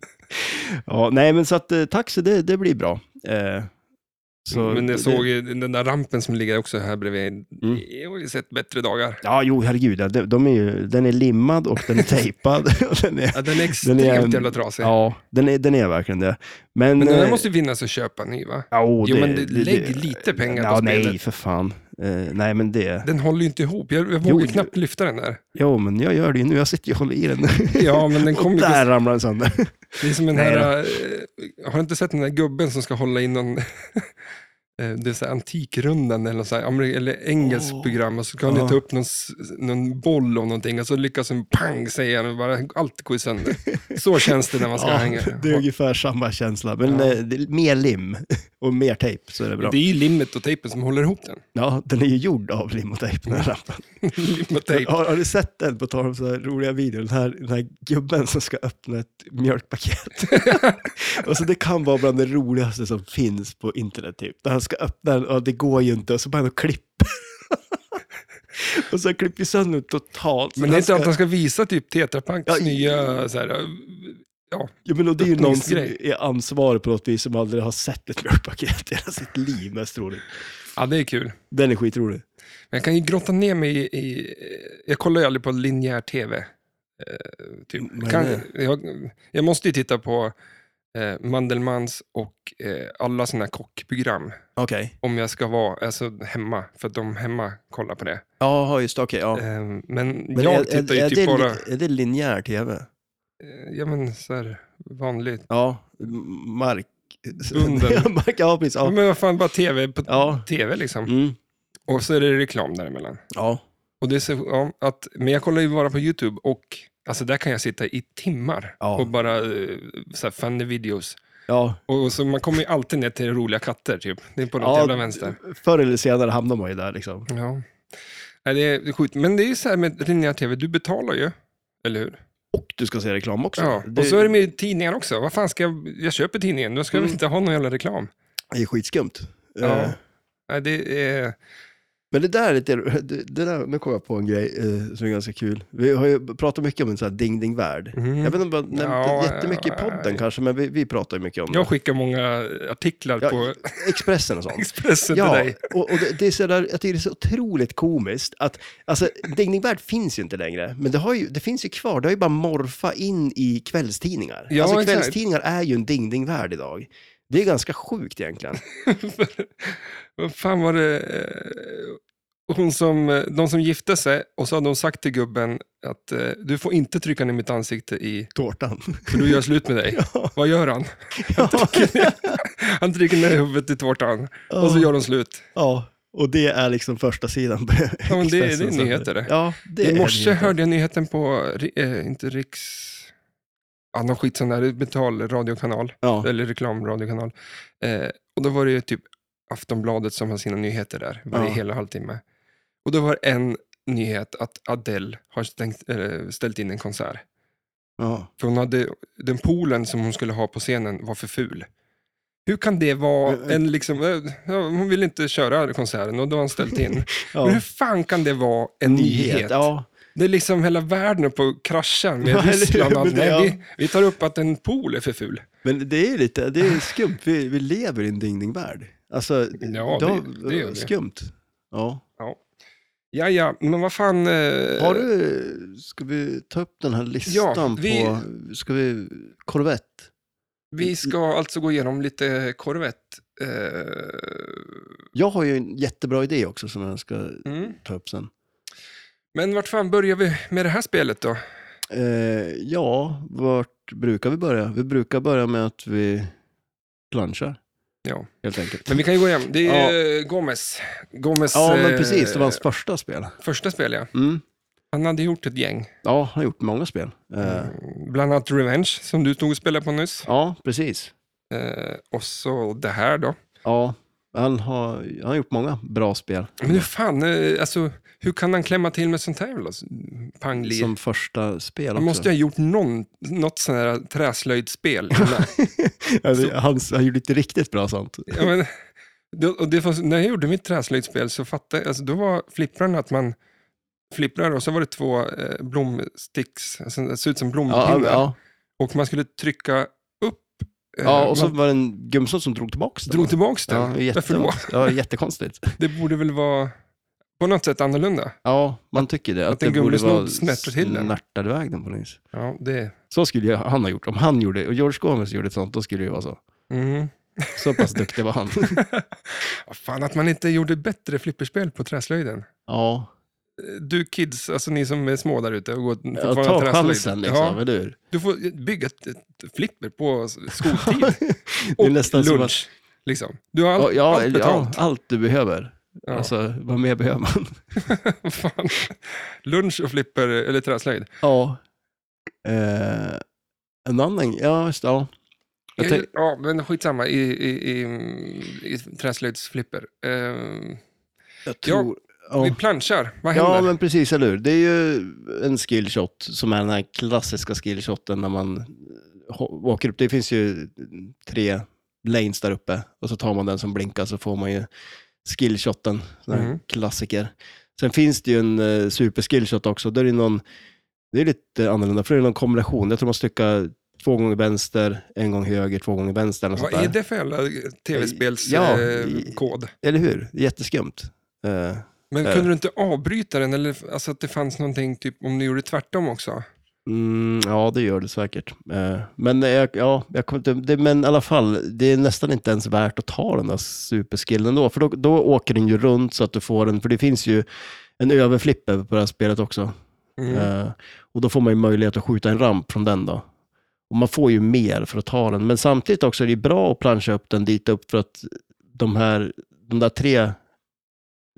B: ja, nej, men så att eh, taxi, det, det blir bra. Eh,
A: Mm, men
B: det-
A: jag såg ju den där rampen som ligger också här bredvid.
B: Mm.
A: Jag har ju sett bättre dagar.
B: Ja, jo, herregud. ja, De, de är ju, den är limmad och den är tejpad. och den är,
A: Ja, den är extremt
B: en-
A: jävla trasig.
B: ja, den är, den är verkligen det. Men,
A: Men den
B: eh,
A: där måste ju finnas att köpa ny va?
B: Ja, och
A: Jo,
B: det-
A: men det-
B: det-
A: lägg
B: det-
A: lite pengar
B: ja,
A: på
B: Nej,
A: spelet.
B: för fan. Eh, nej, men det...
A: Den håller ju inte ihop. Jag, jag vågar
B: Jo,
A: knappt lyfta den där.
B: Jo, men jag gör det ju nu. Jag sitter ju och håller i den.
A: Ja, men den kommer
B: och
A: ju...
B: där ramlar den sönder.
A: Det är som den
B: Nej
A: här... eh, Har du inte sett den där gubben som ska hålla in någon... eh, Det är så här Antikrundan eller, något så här, amer- eller engelskt
B: Åh.
A: program och så kan
B: Ja.
A: han ta upp någon, s- någon boll och någonting och så lyckas han pang säga den och bara allt går ju sönder. Så känns det när man ska
B: Ja,
A: hänga.
B: det är ungefär samma känsla. Men
A: Ja.
B: eh, det är mer lim och mer tejp så är det bra.
A: Det är ju limmet och tejpen som håller ihop den.
B: Ja, den är ju gjord av lim och tejp, den här rampen.
A: Lim och tejp.
B: Har, har du sett den, på tal om så här roliga videor, den här, den här gubben som ska öppna ett mjölkpaket? alltså det kan vara bland det roligaste som finns på internet, typ. När han ska öppna den, och det går ju inte, och så börjar han att klippa. och så klipper ju sönder den totalt. Så
A: Men det är
B: han
A: inte att
B: ska-
A: han ska visa typ Tetra Paks
B: Ja, i-
A: nya... Så här,
B: Ja, men och det är ju någon som
A: öppningsgrej.
B: är ansvarig på något vis, som aldrig har sett ett mjölkpaket i hela sitt liv, mest troligt.
A: ja, det är kul.
B: Den är skitrolig.
A: Men jag kan ju grotta ner mig i... i jag kollar ju aldrig på linjär tv. Eh,
B: Mm, Vad är
A: typ. kan,
B: det?
A: jag, jag måste ju titta på eh, Mandelmans och eh, alla sådana här kockprogram.
B: Okej.
A: Om jag ska vara alltså, hemma, för att de hemma kollar på det.
B: Ja, just det, okej. ja.
A: Eh, men,
B: Men
A: jag
B: är,
A: tittar ju
B: är, är,
A: typ
B: det,
A: bara...
B: li- är det linjär tv?
A: eh, Ja, men så här vanligt.
B: Ja, m- mark.
A: Bunden.
B: ja, mark, ja, precis.
A: Ja.
B: Ja.
A: Men vad fan, bara tv på
B: Ja.
A: tv liksom.
B: Mm.
A: Och så är det reklam däremellan.
B: ja.
A: Och det är så, ja, att, men jag kollar ju bara på YouTube och alltså där kan jag sitta i timmar
B: Ja.
A: och bara eh, så här, funny videos.
B: Ja.
A: Och, och så man kommer ju alltid ner till roliga katter typ. Det är på något
B: Ja,
A: jävla vänster.
B: Förr eller senare hamnar man ju där liksom.
A: Ja. Nej, det är, det är sjukt. Men det är ju så här med linjär tv, du betalar ju. Eller hur?
B: Och du ska se reklam också.
A: Ja.
B: Det,
A: Och så är det med tidningar också. Vad fan ska jag, jag köper tidningen, då ska jag väl
B: Mm.
A: inte ha någon jävla reklam.
B: det är skitskumt.
A: Ja.
B: Eh,
A: Nej, det är,
B: Men det där är lite, det, det där, nu kom jag på en grej eh, som är ganska kul. Vi har ju pratat mycket om en sån här ding ding värld. Jag vet inte om vi har nämnt
A: Mm. Ja,
B: det jättemycket i podden
A: ja.
B: kanske, men vi, vi pratar ju mycket om
A: Jag
B: det.
A: skickar många artiklar på
B: Expressen och sånt.
A: Expressen till
B: Ja,
A: dig.
B: och, och det, det är så där, jag tycker det är så otroligt komiskt att, alltså, Ding Ding Värld finns ju inte längre, men det, har ju, det finns ju kvar, det har ju bara morfa in i kvällstidningar.
A: Ja,
B: alltså
A: exakt.
B: kvällstidningar är ju en Ding Ding Värld idag. Det är ganska sjukt egentligen.
A: Vad fan var det? eh, Hon som, eh, de som gifte sig och så hade hon sagt till gubben att eh, du får inte trycka ner mitt ansikte i,
B: Tårtan.
A: för då gör jag slut med dig. Vad gör han?
B: ja,
A: Han trycker ner huvudet i tårtan och så gör de slut.
B: ja, och det är liksom första sidan på
A: Ja, men det, det
B: Expressen.
A: är nyheter det.
B: Ja, det
A: I
B: är
A: morse
B: nyheter.
A: hörde jag nyheten på, ri- eh, inte Riks... Ja, någon skit sån där betalradiokanal,
B: Ja,
A: eller reklamradiokanal. Eh, och då var det ju typ Aftonbladet som har sina nyheter där, varje
B: Ja.
A: hela halvtimme. Och då var en nyhet att Adele har stängt, eh, ställt in en konsert.
B: ja.
A: För hon hade, den poolen som hon skulle ha på scenen var för ful. Hur kan det vara
B: Men-
A: en liksom, eh, ja, hon ville inte köra konserten och då har hon ställt in.
B: ja.
A: Men hur fan kan det vara en nyhet?
B: Ja,
A: Det är liksom hela världen är på att krascha
B: Ja,
A: med
B: eller
A: Ryssland.
B: hur?
A: och allt.
B: Men det-
A: Nej, vi, vi tar upp att en pool är för ful.
B: Men det är lite, det är skumt. Vi, vi lever i en ding-ding-värld. Alltså,
A: Ja,
B: det,
A: det- det gör vi.
B: skumt. Ja.
A: Ja, ja, men vad fan. eh,
B: Har du, ska vi ta upp den här listan
A: Ja, vi-
B: på, ska vi, Corvette?
A: Vi ska alltså gå igenom lite korvett. Eh,
B: Jag har ju en jättebra idé också som jag ska
A: mm.
B: ta upp sen.
A: Men vart fan börjar vi med det här spelet då?
B: Eh, ja, vart brukar vi börja? Vi brukar börja med att vi planchar.
A: Ja.
B: Helt enkelt.
A: Men vi kan ju gå igenom. Det är eh, Gomez. Gomez
B: Ja, men
A: eh,
B: precis. Det var hans första spel.
A: första spel, ja.
B: Mm.
A: Han hade gjort ett gäng.
B: Ja, han har gjort många spel. Eh,
A: Mm, Bland annat Revenge, som du tog och spelade på nyss.
B: Ja, precis.
A: Eh, och så det här då.
B: Ja, han har, han har gjort många bra spel.
A: Men hur fan, eh, alltså, hur kan han klämma till med sånt här jävla s- pang lir?
B: Som första spel
A: Han
B: också.
A: måste ju ha gjort någon, något sånt här träslöjdspel. innan.
B: Ja, det- han, han gjorde inte riktigt bra sånt.
A: ja, men, det, och det fanns, när jag gjorde mitt träslöjdspel så fattade jag, alltså, då var flipprarna att man flipprar och så var det två eh, blomsticks, alltså, det såg ut som blompinnar.
B: Ja, ja,
A: Och man skulle trycka upp, eh,
B: ja, och så
A: man
B: var det en gumsnodd som drog tillbaka den.
A: drog tillbaka den.
B: ja,
A: Varför då?
B: jätte, ja, jättekonstigt.
A: Det borde väl vara på något sätt annorlunda.
B: Ja, man tycker det. Att,
A: Att en
B: det borde
A: gummisnodd
B: vara
A: snärtar till den.
B: snärtad iväg den på något vis.
A: Ja, det...
B: Så skulle jag, han ha gjort. Om han gjorde, och George Gomez gjorde ett sånt, då skulle det ju vara så.
A: Mm.
B: Så pass duktig var han.
A: Ja, Fan att man inte gjorde bättre flipperspel på träslöjden.
B: Ja,
A: Du kids, alltså ni som är små där ute och går
B: ja
A: fortfarande
B: ta
A: träslöjd.
B: chansen liksom,
A: Ja,
B: eller hur?
A: du får bygga ett, ett flipper på skoltid
B: Det är
A: och
B: nästan som
A: lunch. Liksom. Du har allt,
B: ja,
A: allt
B: eller- ja,
A: betalt.
B: allt du behöver.
A: Ja.
B: Alltså, vad mer behöver man?
A: Fan. Lunch och flipper eller träslöjd.
B: Ja. Eh, en annan, ja just det, ja. Jag tänk-
A: Ja, men skitsamma i, i, i, i träslöjdsflipper. Ehm,
B: Jag tror... Ja,
A: Vi planchar, vad händer?
B: ja. men precis, eller hur? Det är ju en skillshot som är den här klassiska skillshoten när man eh, ho- åker upp. Det finns ju tre lanes där uppe och så tar man den som blinkar så får man ju skillshoten, sån här
A: Mm.
B: klassiker. Sen finns det ju en eh, superskillshot också, där är det någon, det är lite annorlunda, för det är någon kombination. Jag tror man styckar två gånger vänster, en gång höger, två gånger vänster. Eller något
A: Vad
B: sånt där.
A: är det för jävla
B: Ja, i-
A: tv-spelskod?
B: Eller hur? Jätteskumt. Eh,
A: men
B: eh.
A: kunde du inte avbryta den? Eller alltså att det fanns någonting, typ om du gjorde tvärtom också?
B: Mm, ja, det gör det säkert. Eh, Men, jag, ja, jag kommer inte, det, men i alla fall, det är nästan inte ens värt att ta den där superskillen då. För då, då åker den ju runt så att du får den, för det finns ju en överflipp över på det här spelet också.
A: Mm.
B: Eh, Och då får man ju möjlighet att skjuta en ramp från den då. Och man får ju mer för att ta den. Men samtidigt också är det ju bra att plancha upp den dit upp för att de här, de där tre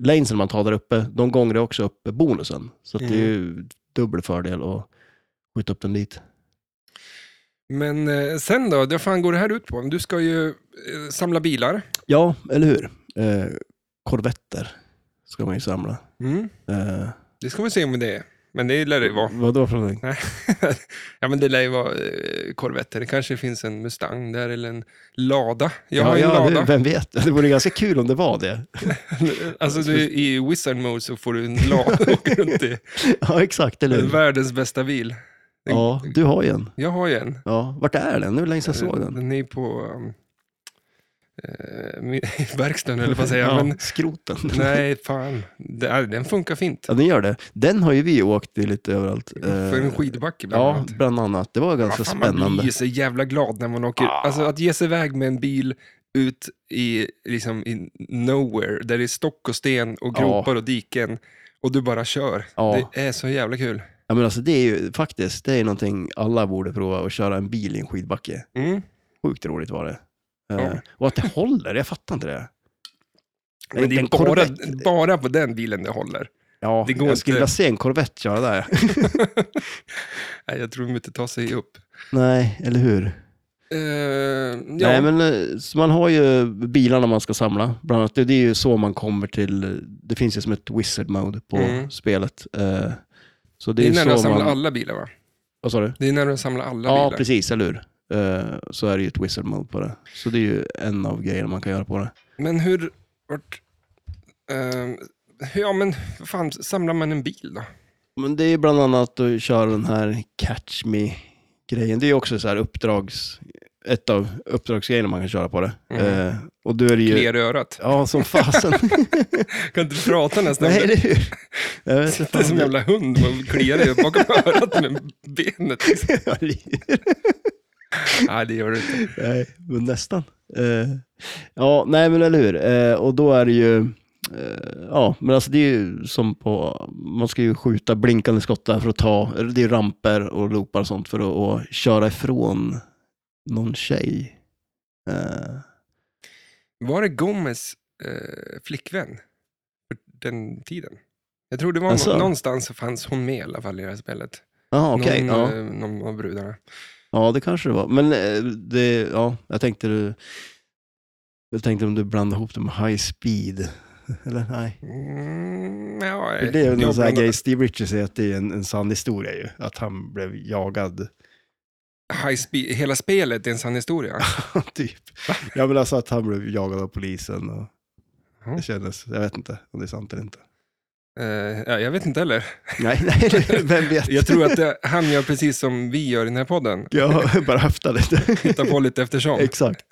B: lanesen man tar där uppe, de gånger också upp bonusen. Så att det är ju dubbel fördel att skjuta upp den dit.
A: Men eh, sen då, vad fan går det här ut på? Du ska ju eh, samla bilar.
B: Ja, eller hur? Eh, korvetter ska man ju samla.
A: Mm.
B: Eh,
A: Det ska vi se om det är. Men det lär det ju vara.
B: Vadå för någonting?
A: ja, men det lär ju vara eh, korvetter. Det kanske finns en Mustang där eller en Lada. Jag har
B: ja,
A: ju en
B: ja,
A: Lada.
B: det, vem vet? Det vore ganska kul om det var det.
A: Alltså du, i wizard mode så får du en Lada och åker runt i
B: Ja, exakt, eller hur?
A: världens bästa bil.
B: Ja, du har ju en.
A: Jag har ju en.
B: Ja, vart är den? Nu var det länge sedan jag såg den.
A: Den är på um, eh, min- verkstaden, eller vad säger jag?
B: Ja,
A: Men,
B: skroten.
A: nej, fan. Det, är- den funkar fint.
B: Ja, den gör det. Den har ju vi åkt i lite överallt.
A: För en skidbacke bland
B: Eh, Ja,
A: annat.
B: bland annat. Det var ganska
A: Vad fan, Man
B: spännande.
A: blir ju så jävla glad när man åker.
B: Ah.
A: Alltså att ge sig iväg med en bil ut i, liksom, i nowhere, där det är stock och sten och
B: Ja.
A: gropar och diken. Och du bara kör.
B: Ja.
A: Det är så jävla kul.
B: Ja, men alltså, det är ju faktiskt det är ju någonting alla borde prova, att köra en bil i en skidbacke.
A: Mm.
B: Sjukt roligt var det.
A: Ja.
B: Eh, och att det håller, jag fattar inte det.
A: Men det
B: En
A: är bara,
B: Corvette-
A: bara på den bilen det håller.
B: Ja,
A: det går
B: jag skulle
A: inte.
B: vilja se en Corvette köra där.
A: Nej, jag tror de inte tar sig upp.
B: Nej, eller hur?
A: Eh, ja.
B: Nej, men eh, så man har ju bilarna man ska samla, bland annat. Det, det är ju så man kommer till, eh, det finns ju som ett wizard mode på
A: Mm.
B: spelet. Eh, Så det
A: det
B: är,
A: är när
B: ju
A: de
B: så
A: samlar
B: man...
A: alla bilar va?
B: Vad sa du?
A: Det är när de samlar alla
B: Ja,
A: bilar.
B: Ah, precis, eller hur? Eh, Så är det ju ett wizard mode på det. Så det är ju en av grejerna man kan göra på det.
A: Men hur... Vart, ehm, ja men vad fan, samlar man en bil då?
B: Men det är ju bland annat att köra den här catch me-grejen. Det är ju också så här uppdrags... Ett av uppdragsgrejerna man kan köra på det.
A: Mm.
B: Eh, och då är det ju...
A: Klär i örat.
B: Ja, som fasen.
A: Kan inte prata nästan.
B: Nej, eller hur? Jag vet inte
A: Det är
B: fan.
A: som en jävla hund, man kliar dig bakom örat med benet. Liksom. Nej, det gör det inte.
B: Nej, men nästan. Eh, ja, nej men eller hur. Eh, och då är det ju, eh, ja, men alltså det är ju som på, man ska ju skjuta blinkande skott där för att ta, eller det är ramper och loopar och sånt för att att köra ifrån någon tjej. Eh,
A: Var det Gomes eh, flickvän för den tiden? Jag tror det var
B: Alltså?
A: nå- någonstans så fanns hon med i alla fall i det här spelet.
B: Jaha, okej.
A: någon,
B: ja.
A: eh, någon av brudarna.
B: ja, det kanske det var. Men eh, det, ja, jag tänkte du, jag tänkte om du blandade ihop det med high speed. Eller nej.
A: Mm, ja,
B: För det är väl
A: jag
B: någon sån här
A: blandar-
B: grej, Steve Richards säger att det är en, en sann historia ju, att han blev jagad,
A: High speed, hela spelet är en sann historia.
B: typ. Ja men alltså att han blev jagad av polisen och
A: Ja.
B: det kändes, jag vet inte om det är sant eller inte.
A: Eh, ja, jag vet inte heller.
B: Nej, nej, det- vem vet.
A: Jag tror att det, han gör precis som vi gör i den här podden.
B: Jag bara höftar lite.
A: Hittar på lite eftersom.
B: Exakt.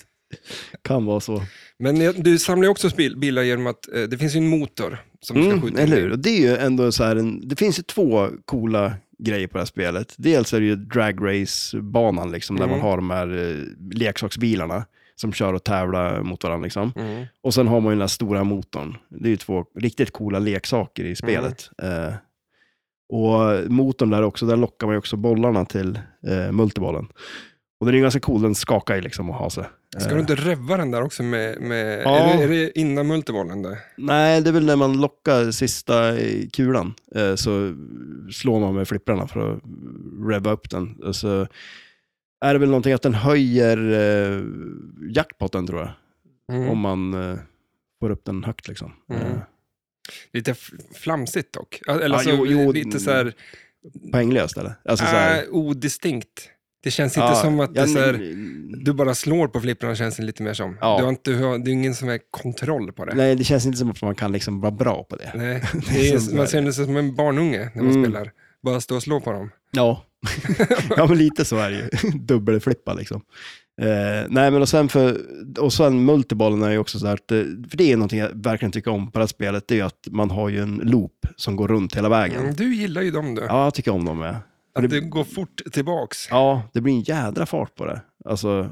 B: Kan vara så.
A: Men eh, du samlar ju också spil- bilar genom att eh, det finns ju en motor som du ska
B: Mm,
A: skjuta
B: eller
A: in i.
B: hur? Och Det är ju ändå så här en, det finns ju två coola grejer på det här spelet. Dels är det ju dragrace-banan liksom, där
A: Mm.
B: man har de här eh, leksaksbilarna som kör och tävlar mot varandra liksom.
A: Mm.
B: Och sen har man ju den där stora motorn. Det är ju två riktigt coola leksaker i spelet. Eh, och motorn där också, där lockar man ju också bollarna till eh, multibollen. Och den är ju ganska cool, den skakar ju liksom och har sig.
A: Ska
B: Eh,
A: du inte revva den där också med... med
B: Ja.
A: är, det, är det innan multibollen där?
B: Nej, det är väl när man lockar sista eh, kulan eh, så slår man med flipprarna för att revva upp den. Och Så är det väl någonting att den höjer eh, jackpotten tror jag,
A: Mm.
B: om man eh, får upp den högt liksom.
A: Mm.
B: Eh,
A: Lite f- flamsigt dock. Eller
B: Ja,
A: så,
B: jo, jo,
A: lite så här,
B: Poänglöst eller? Alltså, så här-
A: äh, odistinkt. Det känns inte
B: Ja,
A: som att
B: ja,
A: det, så här,
B: nej,
A: du bara slår på flipprarna känns det lite mer som.
B: Ja.
A: Du har inte, du har, det är ingen som är kontroll på det.
B: nej, det känns inte som att man kan liksom vara bra på det.
A: Nej,
B: Det
A: det
B: är
A: är,
B: som
A: man
B: så
A: känner sig som en barnunge när man
B: Mm.
A: spelar. Bara stå och slå på dem.
B: Ja, ja men lite så är det ju. Dubbelflippa liksom. Eh, nej, men och sen, för, och sen multibollen är ju också så här, att, eh, för det är någonting jag verkligen tycker om på det här spelet, det är ju att man har ju en loop som går runt hela vägen.
A: Mm, Du gillar ju dem du.
B: Ja, jag tycker om dem med.
A: att det går fort tillbaks.
B: Ja, det blir en jädra fart på det. Alltså,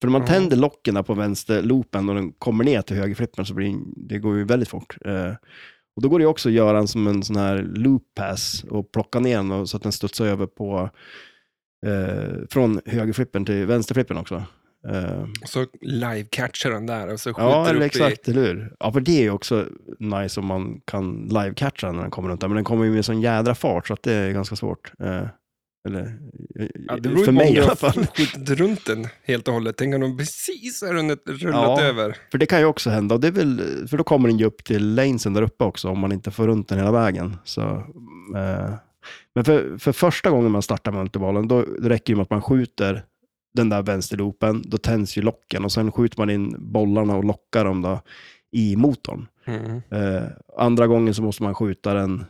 B: för när man
A: Ja.
B: tänder locken där på vänsterloopen och den kommer ner till högerflippen så blir det- det går ju väldigt fort. Eh, och då går det ju också att göra en som en sån här loop pass och plocka ner den och, så att den studsar över på eh, från högerflippen till vänsterflippen också. Eh,
A: Och så live-catchar den där och så skjuter
B: ja, eller
A: upp i...
B: exakt, eller hur? Ja, för det är ju också nice om man kan live-catcha den när den kommer runt där, men den kommer ju med sån jädra fart så att det är ganska svårt. Eh, eller, eh,
A: Ja, det beror ju
B: för
A: på om
B: mig i
A: du
B: alla
A: har
B: fall.
A: skjutit runt den helt och hållet. Tänk om de precis har runnit, rullat
B: Ja.
A: över.
B: För det kan ju också hända, och det är väl, för då kommer den ju upp till lanesen där uppe också, om man inte får runt den hela vägen. Så, eh, Men för, för första gången man startar multivalen, då räcker det med att man skjuter den där vänsterloopen, då tänds ju locken och sen skjuter man in bollarna och lockar dem då i motorn.
A: Mm.
B: Eh, andra gången så måste man skjuta den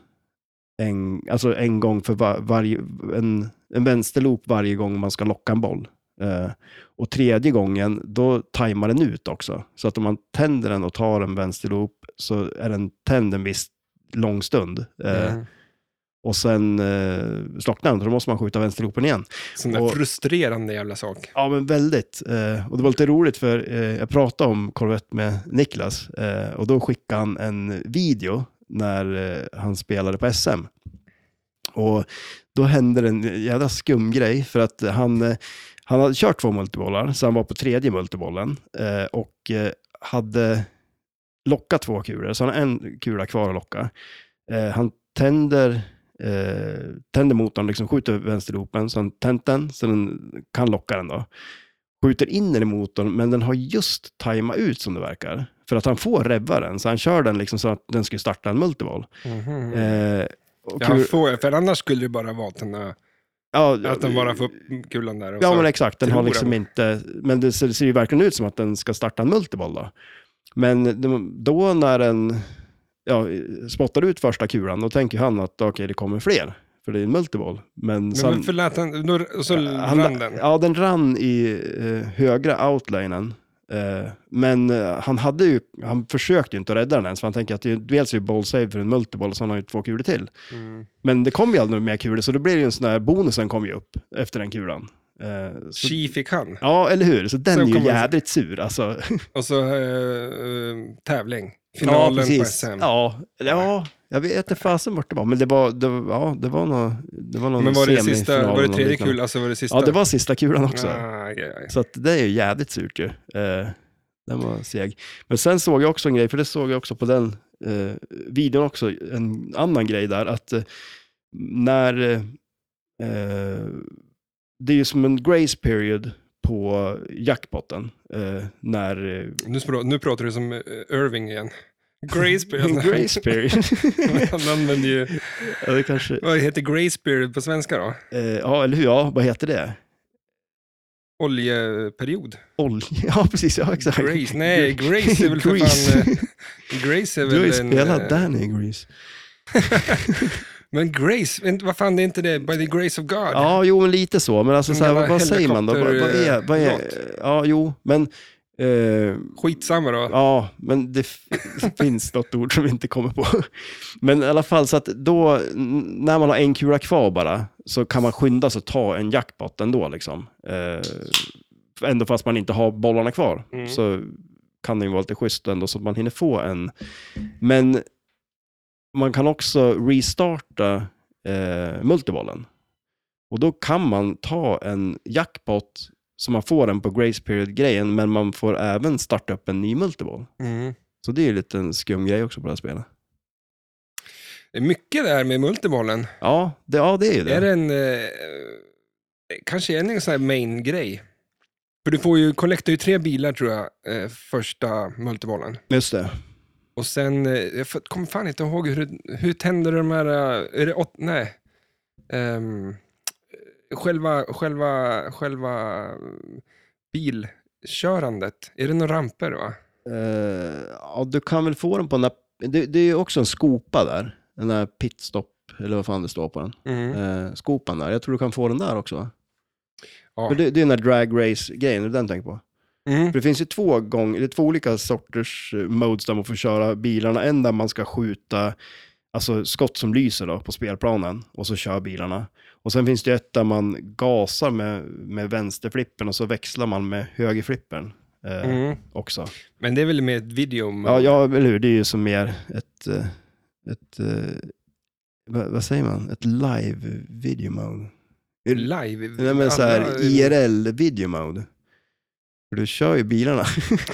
B: en, alltså en gång för var, varje, en, en vänsterloop varje gång man ska locka en boll. Eh, och tredje gången, då tajmar den ut också. Så att om man tänder den och tar en vänsterloop så är den tänd en viss lång stund. Eh,
A: Mm.
B: Och sen eh, slocknar den, så då måste man skjuta vänsterloopen igen.
A: Sån där
B: och-
A: frustrerande jävla sak.
B: Ja, men väldigt. Eh, och det var lite roligt för eh, jag pratade om Corvette med Niklas eh, och då skickade han en video när eh, han spelade på SM. Och då hände det en jävla skum grej för att eh, han, eh, han hade kört två multibollar, så han var på tredje multibollen eh, och eh, hade lockat två kulor, så han har en kula kvar att locka. Eh, han tänder eh, tänder motorn, liksom skjuter vänsterloopen, så han tänt den, så den kan locka den då. Skjuter in den i motorn, men den har just tajmat ut som det verkar. För att han får revva den, så han kör den liksom så att den skulle starta en multival.
A: Mhm.
B: Eh, och
A: Ja,
B: kul,
A: får, för annars skulle det bara vara att den, har-
B: ja,
A: att den bara får upp kulan där. Och
B: Ja,
A: så.
B: men exakt. Den har
A: förlorar
B: liksom
A: man.
B: inte... Men det ser, ser ju verkligen ut som att den ska starta en multiboll då. Men de- då när den ja, spottar ut första kulan, då tänker han att okej, det kommer fler. För det är en multiboll. Men,
A: men
B: sen-
A: varför lät han, då, och så
B: han-
A: rann den.
B: Ja, den rann i eh, högra outlinen. Eh, men eh, han, hade ju, han försökte ju inte rädda den ens, för han tänker att det är, dels är ju ballsave för en multiboll, och så han har ju två kulor till.
A: Mm.
B: Men det kom ju aldrig mer kulor, så då blev det ju en sån här, bonusen kom ju upp efter den kulan. Eh, så,
A: Chi fick han.
B: ja, eller hur? Så den
A: Sen
B: är ju
A: kommer-
B: jädrigt sur alltså.
A: Och så eh, eh, tävling. Finalen på SM.
B: Ja, ja, jag vet inte fasen vart det var, men det var, det, var- ja, det var nog, det var någon
A: Men var det
B: semifinal
A: sista, var
B: eller
A: det
B: något
A: tredje
B: liknande.
A: kul, alltså var det sista?
B: Ja, det var sista kulan också.
A: Ah, okej, okej.
B: Så att det är ju jävligt surt ju. Eh, den var seg. Men sen såg jag också en grej, för det såg jag också på den eh, videon också, en annan grej där, att eh, när... Eh, eh, det är ju som en grace period på jackpotten, eh, när... Eh,
A: Nu, spra- nu pratar du som eh, Irving igen. Gracebeard.
B: grace period.
A: Han använder ju,
B: ja, det kanske,
A: vad heter Gracebeard på svenska då?
B: eh, ja, eller hur? Ja, vad heter det?
A: Oljeperiod.
B: Olja, ja precis, ja exakt.
A: Grace, nej, Grace är väl för
B: Grease.
A: fan... eh, Grace är väl
B: Du har ju
A: en, eh,
B: spelat Danny i Grease.
A: Men Grace, men vad fan det är inte det, By the Grace of God?
B: Ja, jo, men lite så. Men alltså,
A: En
B: så här, vad,
A: gammal
B: vad säger man då? Vad, vad är, vad är,
A: helikopterlåt.
B: ja, jo, men... Eh,
A: Skitsamma då.
B: ja, men det f- finns något ord som vi inte kommer på. Men i alla fall, så att då, n- när man har en kula kvar bara, så kan man skynda sig att ta en jackpot ändå. Liksom. Eh, ändå fast man inte har bollarna kvar,
A: Mm.
B: så kan det ju vara lite schysst ändå, så att man hinner få en. Men man kan också restarta eh, multibollen. Och då kan man ta en jackpot, så man får den på grace period-grejen, men man får även starta upp en ny multiboll.
A: Mm.
B: Så det är ju lite en skum grej också på det här spelet.
A: Det är mycket där med multibollen.
B: Ja, det, ja, det är ju det.
A: Är det en... Eh, kanske är det en sån här main-grej. För du får ju, collectar ju tre bilar tror jag, eh, första multibollen.
B: Just det.
A: Och sen, eh, jag f- kommer fan inte ihåg hur, hur tänder de här, eh, är det åt, nej. Ehm, själva, själva, själva mm, bilkörandet, är det några ramper va?
B: Eh, ja, du kan väl få den på den där, det, det är ju också en skopa där. Den där pitstop, eller vad fan det står på den.
A: Mm.
B: Eh, skopan där. Jag tror du kan få den där också. va?
A: Ja.
B: För det, det är den där drag race-grejen, är det den du tänker på?
A: Mm.
B: För det finns ju två, gång, det är två olika sorters eh, modes där man får köra bilarna. En där man ska skjuta alltså skott som lyser då, på spelplanen och så kör bilarna. Och sen finns det ju ett där man gasar med, med vänsterflippen och så växlar man med högerflippen eh,
A: Mm.
B: också.
A: Men det är väl med ett video? men-
B: Ja, ja, eller hur? Det är ju som mer ett, eh, ett eh, vad, vad säger man, ett live video mode.
A: Live?
B: Nej men så här
A: Alla-
B: IRL video mode. För du kör ju bilarna.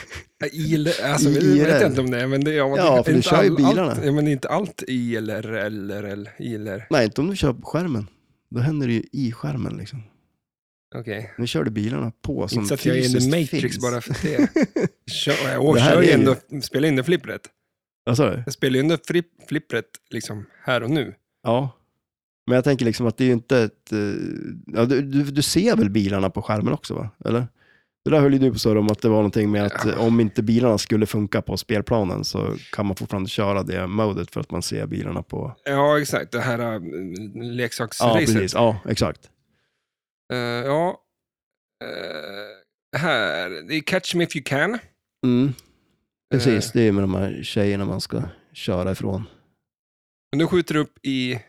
A: IL, alltså,
B: I-
A: Jag vet
B: IRL.
A: inte om det är, men det, ja, men
B: Ja,
A: det-
B: för du
A: inte
B: kör ju
A: all-
B: bilarna.
A: Allt, ja, men inte allt ILRL, ILR, ILR.
B: Nej, inte om du kör på skärmen. Då händer det ju i skärmen liksom.
A: Okej.
B: Nu kör du bilarna på som
A: Inte så att jag är in the
B: fysiskt
A: matrix
B: finns.
A: bara för det. Kör, och
B: Det här
A: kör ju
B: är ju-
A: ändå, spelar in det flippret.
B: Vad sa du?
A: Jag spelar ju ändå fri- flippret liksom här och nu.
B: Ja. Men jag tänker liksom att det är ju inte ett... eh, Ja, du, du, du ser väl bilarna på skärmen också, va? Eller? Det där höll ju du på så om att det var någonting med att eh, om inte bilarna skulle funka på spelplanen så kan man fortfarande köra det modet för att man ser bilarna på...
A: Ja, exakt. Det här äh,
B: Ja,
A: leksaksracet.
B: precis. Ja, exakt.
A: Eh, ja. Eh, här, det är Catch Me If You Can.
B: Mm.
A: Eh.
B: Precis, det är ju med de här tjejerna man ska köra ifrån.
A: Men nu skjuter du upp i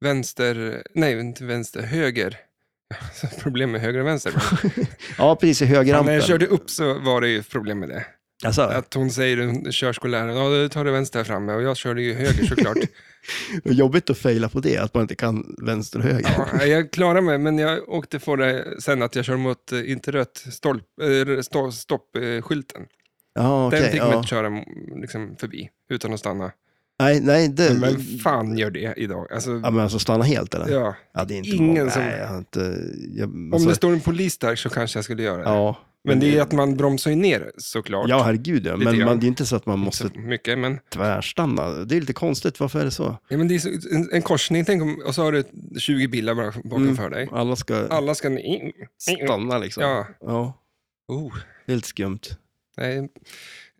A: vänster, nej inte vänster, höger. problem med höger och vänster.
B: Ja, precis, i
A: Men när jag
B: högerrampen.
A: körde upp så var det ju problem med det.
B: Alltså,
A: Att hon säger, hon- körskolläraren, ja du tar det vänster här framme och jag körde ju höger såklart.
B: jobbigt att faila på det, att man inte kan vänster och höger.
A: ja, jag klarade mig, men jag åkte på det sen att jag kör mot, eh, inte rött, stolp, eh, stå, stoppskylten.
B: Ja, okej.
A: Den fick man
B: ja.
A: inte köra mm, liksom, förbi utan att stanna.
B: Nej, nej, det...
A: Men vem fan gör det idag? Alltså,
B: Ja, men alltså stanna helt eller?
A: ja.
B: Ja, det är inte
A: Ingen
B: många.
A: som-
B: Nej, jag har inte... Jag,
A: Om
B: alltså,
A: det står en polis där så kanske jag skulle göra det.
B: ja,
A: Men det är att man bromsar ju ner såklart.
B: Ja, herregud ja.
A: Lite
B: Men
A: grann.
B: man, det är inte så att man
A: Inte
B: måste
A: så mycket, men,
B: tvärstanna. Det är lite konstigt, varför är det så?
A: ja, men det är så, en, en korsning, tänk om, och så har du 20 bilar bara
B: Mm.
A: bakom för dig.
B: Alla ska
A: Alla ska in.
B: stanna liksom. Ja.
A: Ja. Oh,
B: det är lite skumt.
A: nej.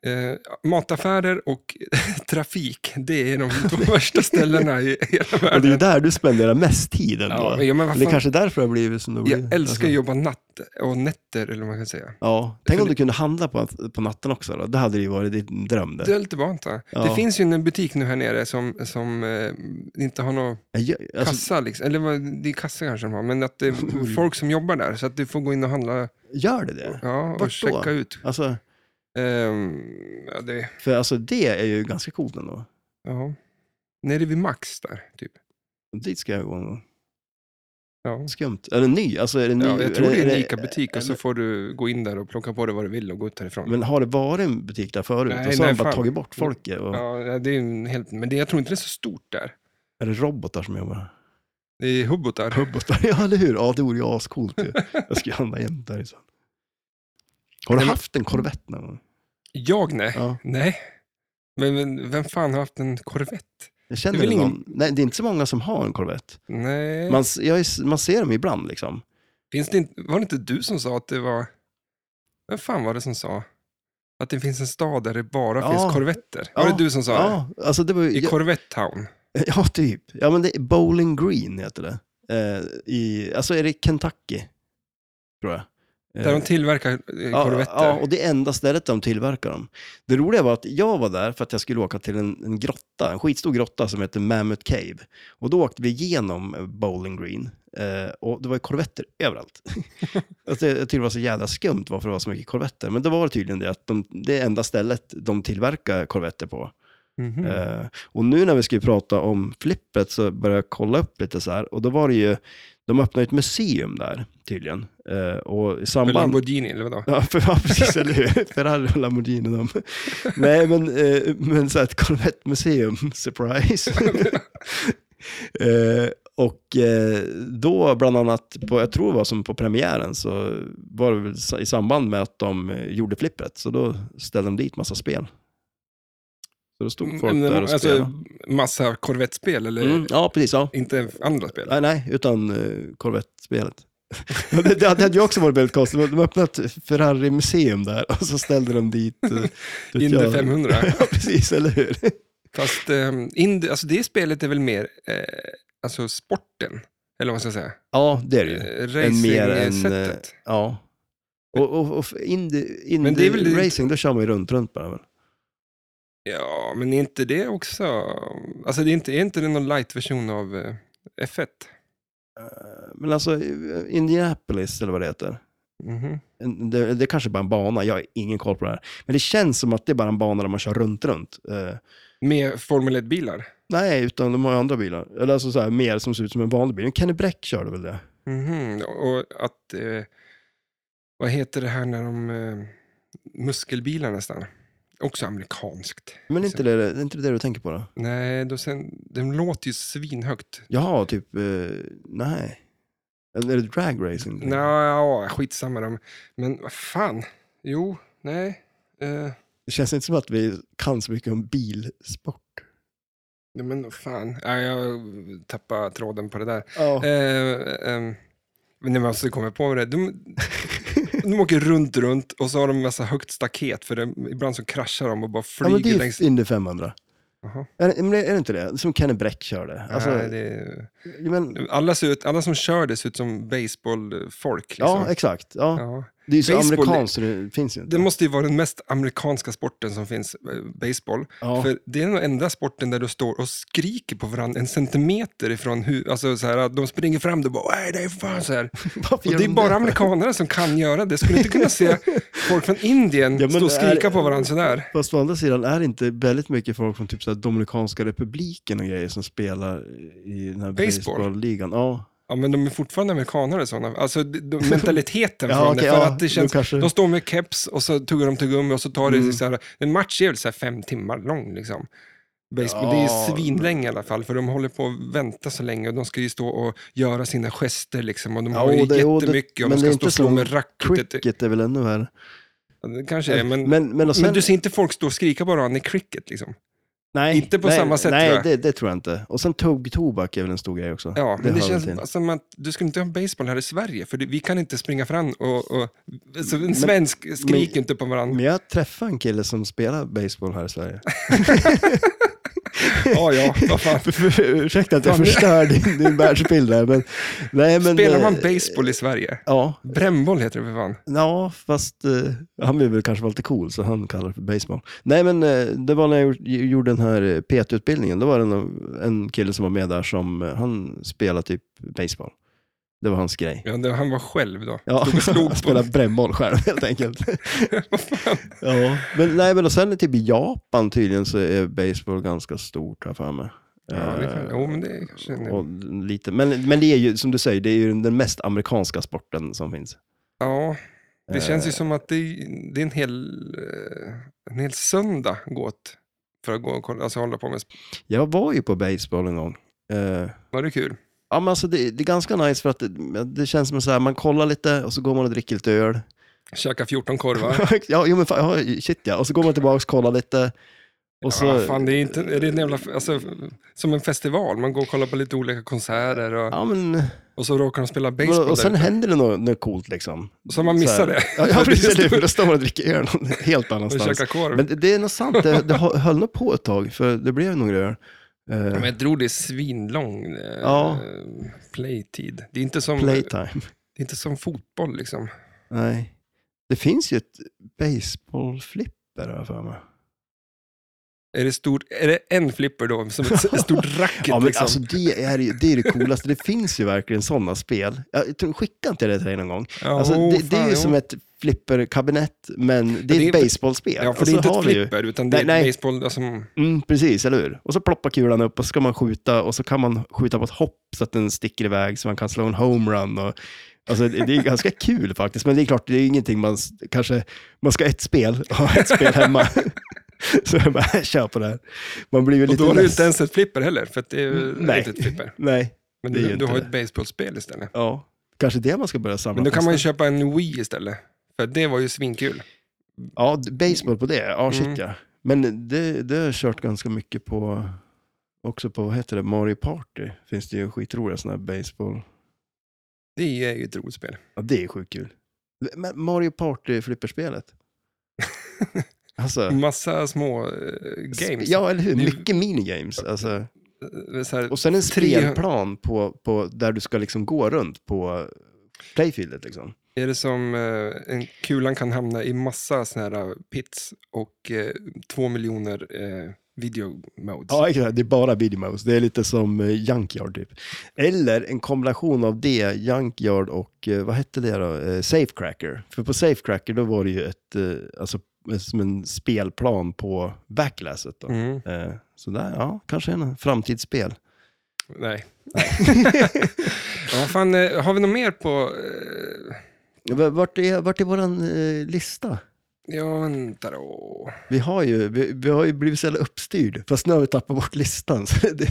A: Eh, mataffärer och trafik, det är de två värsta ställena i hela
B: Och det är ju
A: världen.
B: där du spenderar mest tid ändå.
A: Ja, men vad
B: det är
A: fan,
B: kanske därför det har blivit som det har blivit.
A: jag älskar att
B: Alltså,
A: jobba natt och nätter, eller vad man kan säga.
B: Ja, tänk om du kunde handla på, på natten också då. Det hade ju varit din dröm det.
A: Det är lite vant. va?
B: Ja.
A: Det finns ju en butik nu här nere som, som eh, inte har någon
B: Jag, alltså, Mm.
A: kassa, liksom. eller vad- det är kassa kanske de har, men att det är folk som jobbar där, så att du får gå in och handla
B: gör det det?
A: ja, och
B: Vart då?
A: checka ut.
B: Alltså,
A: Ehm, ja, det,
B: för alltså det är ju ganska coolt ändå.
A: ja. Nere vid Max där, typ.
B: Dit ska jag gå någon gång.
A: Ja.
B: Skumt. Är den ny? Alltså, är den ny?
A: Ja, jag tror det är en ICA-butik och
B: eller-
A: så får du gå in där och plocka på dig vad du vill och gå ut därifrån.
B: Men har det varit en butik där förut?
A: Nej,
B: och så har
A: nej,
B: de bara
A: fan.
B: tagit bort folk. Och...
A: Ja, det är en helt, men det, jag tror inte det är så stort där.
B: Är det robotar som jobbar? här?
A: Det är hubbotar.
B: Robotar, ja eller hur? Ja, det vore ju ascoolt ju. Jag ska ju handla jämt där. Liksom. Har du
A: Men-
B: haft en Corvette någon gång?
A: Jag nej.
B: Ja.
A: Nej. Men, men vem fan har haft en Corvette?
B: Jag känner
A: Det är väl
B: någon.
A: ingen-
B: Nej, det är inte så många som har en Corvette.
A: Nej.
B: Man, s- jag, är- man ser dem ibland liksom.
A: Finns det inte, var det inte du som sa att det var... Vem fan var det som sa? Att det finns en stad där det bara
B: Ja.
A: finns korvetter. Var
B: Ja.
A: det du som sa
B: Ja, alltså det var ju...
A: det? I
B: ja,
A: Corvette Town.
B: ja, typ. Ja, men det är Bowling Green heter det. Eh, i, alltså är det Kentucky? Tror jag. Eh,
A: Där de tillverkar eh,
B: Ja,
A: korvetter.
B: ja, och det är enda stället de tillverkar dem. Det roliga var att jag var där för att jag skulle åka till en, en grotta, en skitstor grotta som heter Mammoth Cave. Och då åkte vi igenom eh, Bowling Green eh, och det var ju korvetter överallt. alltså, jag tyckte det var så jävla skumt varför det var så mycket korvetter. Men det var tydligen det att de, det är enda stället de tillverkar korvetter på.
A: Mhm.
B: Eh, och nu när vi skulle prata om flippet så började jag kolla upp lite så här och då var det ju, de öppnade ett museum där tydligen. Eh, och i
A: Med
B: samband...
A: Lamborghini eller vadå?
B: Ja, för, ja precis, eller hur? Ferrari och Lamborghini. De. Nej, men, eh, men så här ett korvettmuseum, surprise. eh, och eh, då, bland annat, på, jag tror det var som på premiären, så var det väl sa- i samband med att de eh, gjorde flippret, så då ställde de dit massa spel. Så då stod folk
A: Mm,
B: där och spelade.
A: alltså, eh, massa korvettspel eller
B: Mm, ja, precis. Ja.
A: inte andra spel?
B: Nej, nej, utan eh, korvettspelet. det, det, det hade ju också varit väldigt konstigt. De öppnade ett Ferrari-museum där och så ställde de dit... eh, vet
A: Indy
B: jag.
A: 500.
B: ja, precis, eller hur?
A: Fast ehm, Indy, alltså det spelet är väl mer eh, alltså sporten? Eller vad man ska säga?
B: Ja, det är det ju.
A: Eh,
B: Än mer än,
A: Racing-sättet.
B: Ja. Och, och, och Indy,
A: Men det är väl-
B: racing, då kör man ju runt, runt bara. väl?
A: Ja, men är inte det också... Alltså det är inte, är inte det någon light-version av eh, F1?
B: Eh, Men alltså, Indianapolis, eller vad det heter.
A: Mhm.
B: En- Det, det är kanske bara en bana, jag har ingen koll på det här. Men det känns som att det är bara en bana där man kör runt, runt. Eh,
A: Med Formel 1-bilar?
B: Nej, utan de har ju andra bilar. Eller alltså så här, mer som ser ut som en vanlig bil. En Kenny Bräck körde väl det?
A: Mhm. Och att... Eh, vad heter det här när de... Eh, muskelbilar nästan. Också amerikanskt.
B: Men inte det, är inte det du tänker på då?
A: Nej, då sen, de låter ju svinhögt.
B: Jaha, typ, eh, nej. Eller är det drag racing?
A: Nå, ja, skitsamma. De. Men vad fan. Jo, nej. Eh,
B: Det känns inte som att vi kan så mycket om bilsport.
A: Nej, men fan, ja, jag tappade tråden på det där.
B: Ja.
A: Eh, ehm, men jag måste komma på det. De, de åker runt, runt och så har de massa högt staket för det, ibland så kraschar de och bara
B: Ja, men det
A: flyger
B: är
A: längs...
B: ju Indy 500.
A: Jaha.
B: Är, det- men är det inte det? Som Kenny Bräck körde. Alltså,
A: Nej, det är- liksom-
B: men,
A: alla, ser ut, alla som kör det ser ut som baseballfolk. Liksom.
B: ja, exakt. Ja.
A: Ja.
B: Det är ju så
A: Baseball-
B: amerikanskt så det finns ju inte.
A: Det måste ju vara den mest amerikanska sporten som finns, eh, baseball.
B: Ja.
A: För det är den enda sporten där du står och skriker på varandra en centimeter ifrån hur, alltså så här, de springer fram och bara nej det är fan så här.
B: Varför
A: Och
B: gör
A: det är
B: de
A: bara amerikanare som kan göra det. Skulle inte kunna se folk från Indien
B: Ja, men
A: stå och skrika
B: är-
A: på varandra sådär.
B: Fast å andra sidan är det inte väldigt mycket folk från typ så här Dominikanska republiken och grejer som spelar i den här
A: Baseball?
B: baseballligan. Ja.
A: Ja, men de är fortfarande amerikanare sådana. Alltså de, de, mentaliteten
B: Ja,
A: från
B: okej,
A: det. För
B: ja,
A: att det
B: då
A: känns,
B: kanske-
A: De står med keps och så tuggar de tuggummi och så tar
B: Mm.
A: det liksom så här, en match är väl så här fem timmar lång liksom. Baseball, Det är
B: Ja.
A: ju svinlänge i alla fall, för de håller på att vänta så länge och de ska ju stå och göra sina gester liksom och de
B: Ja,
A: har ju
B: och det- och det-
A: jättemycket och
B: men
A: de
B: det är
A: ska stå
B: inte
A: och slå
B: som
A: med racketet.
B: Cricket är väl ännu värre.
A: Ja, Det kanske är, Eh, men, men,
B: men, men, och sen,
A: du ser inte folk stå och skrika på varandra i cricket liksom.
B: nej,
A: inte på
B: nej,
A: samma sätt,
B: Nej,
A: tror jag.
B: det, det tror jag inte. Och sen tuggtobak är väl en stor grej också.
A: Ja, men det
B: hör väl till.
A: känns som att du skulle inte ha en baseball här i Sverige, för det, vi kan inte springa fram och... och så en svensk skriker
B: men-
A: inte på varandra.
B: Men jag träffade en kille som spelar baseball här i Sverige.
A: Ja, ja, vad fan.
B: Ursäkta att jag
A: Fan, det-
B: förstör din, din världsbild där. Men, nej, men,
A: Spelar man
B: eh,
A: baseball i Sverige?
B: Ja,
A: Brännboll heter det för fan.
B: Ja, fast eh, han vill väl kanske vara lite cool, så han kallar det för baseball. Nej, men eh, det var när jag gjorde- gjorde den här eh, PT-utbildningen. Då var det en, en kille som var med där som, eh, han spelade typ baseball. Det var hans grej.
A: Ja, det, han var själv då.
B: Ja,
A: Stod och slog
B: han
A: på.
B: spelade brännboll själv helt enkelt. ja, men nej, men och sen typ i Japan tydligen så är baseball ganska stort här för mig.
A: Ja, det kan, jo, men det är kanske...
B: Eh,
A: En,
B: och lite, men, men det är ju, som du säger, det är ju den mest amerikanska sporten som finns.
A: ja, det
B: Eh,
A: känns ju som att det, är- det är en hel, eh, en hel söndag gått för att gå och kolla, alltså hålla på med sp-
B: Jag var ju på baseball en gång. Eh,
A: Var det kul?
B: Ja, men alltså det, det är ganska nice för att det, det känns som så här, man kollar lite och så går man och dricker lite öl.
A: Käka 14 korvar?
B: ja, jo, men fan, ja, shit ja. Och så går man tillbaka och kollar lite. Och så,
A: ja,
B: ja,
A: fan, det är, inte, är det en jävla, alltså, som en festival. Man går och kollar på lite olika konserter och,
B: men,
A: och så råkar de spela baseball.
B: och, och sen
A: där.
B: händer det något, något coolt liksom.
A: så man
B: så
A: missar
B: här-
A: det.
B: Ja, ja precis. eller hur? Då står man och dricker öl någon helt
A: och
B: annanstans.
A: käkar korv. Men,
B: Men det, det är nog sant, det, det hö- höll nog på ett tag, för det blev några öl. Eh,
A: jag tror det är svinlång eh,
B: Ja.
A: playtid. Det är, inte som, det
B: playtime.
A: är inte som fotboll liksom.
B: Nej. Det finns ju ett baseballflipper har jag för mig.
A: Är det, stort, är det en flipper då, som ett s- stort racket?
B: Ja, men
A: liksom?
B: alltså det är, ju- det är det coolaste. Det finns ju verkligen sådana spel. Jag tror, skicka inte det till dig någon gång.
A: ja,
B: Alltså,
A: oh,
B: det, det är
A: fan,
B: ju
A: jo.
B: som ett flipperkabinett, men det är
A: det
B: ett
A: är-
B: baseballspel.
A: Ja, för
B: Och
A: det är
B: så
A: inte
B: alltså, har
A: ett
B: vi ju-
A: flipper, utan det är
B: Nej, nej.
A: baseball. Alltså, mm,
B: Mm, precis, eller hur? Och så ploppar kulan upp och så ska man skjuta och så kan man skjuta på ett hopp så att den sticker iväg så man kan slå en homerun. Och, alltså, det det är ganska kul faktiskt, men det är klart, det är ingenting man s- kanske... Man ska ha ett spel och ha ett spel hemma. så jag bara, kör på det här. Man blir ju
A: och
B: lite
A: då är det ju
B: less.
A: inte ens ett flipper heller, för att det är ju
B: Nej.
A: inte ett flipper.
B: Nej,
A: Men
B: Det är ju
A: du, du
B: inte
A: har ju
B: det.
A: ett baseballspel istället.
B: ja. Kanske det man ska börja samla
A: Men då
B: på
A: kan man ju
B: sen.
A: köpa en Wii istället. För det var ju svinkul.
B: Ja, d- baseball på det. Ja, shit
A: Mm.
B: ja. Men det, det har jag kört ganska mycket på, också på, vad heter det, Mario Party. Finns det ju skitroliga sådana här baseball.
A: Det är ju ett roligt spel.
B: Ja, det är sjukt kul. Men Mario Party-flipperspelet. alltså,
A: Massa små eh, games.
B: ja eller hur,
A: Det är-
B: mycket minigames. Alltså.
A: Eh, Så här,
B: Och sen en
A: Tre-
B: spelplan på, på, där du ska liksom gå runt på playfieldet liksom.
A: är det som eh, en kulan kan hamna i massa såna här eh, pits och eh, två miljoner eh, video modes.
B: Ja, exakt. Det är bara videomos. Det är lite som eh, Junkyard typ. Eller en kombination av det, Junkyard och eh, vad hette det då? Eh, Safecracker. För på Safecracker då var det ju ett, eh, alltså eh, som en spelplan på backlasset då.
A: Mm,
B: Eh, Så där, ja, kanske en framtidsspel.
A: nej. ja, fan, eh, har vi något mer på... Eh,
B: V- Vart är, vart är våran eh, lista?
A: ja, vänta då.
B: Vi har ju, vi, vi har ju blivit så jävla uppstyrd, fast nu har vi tappat bort listan. Så det,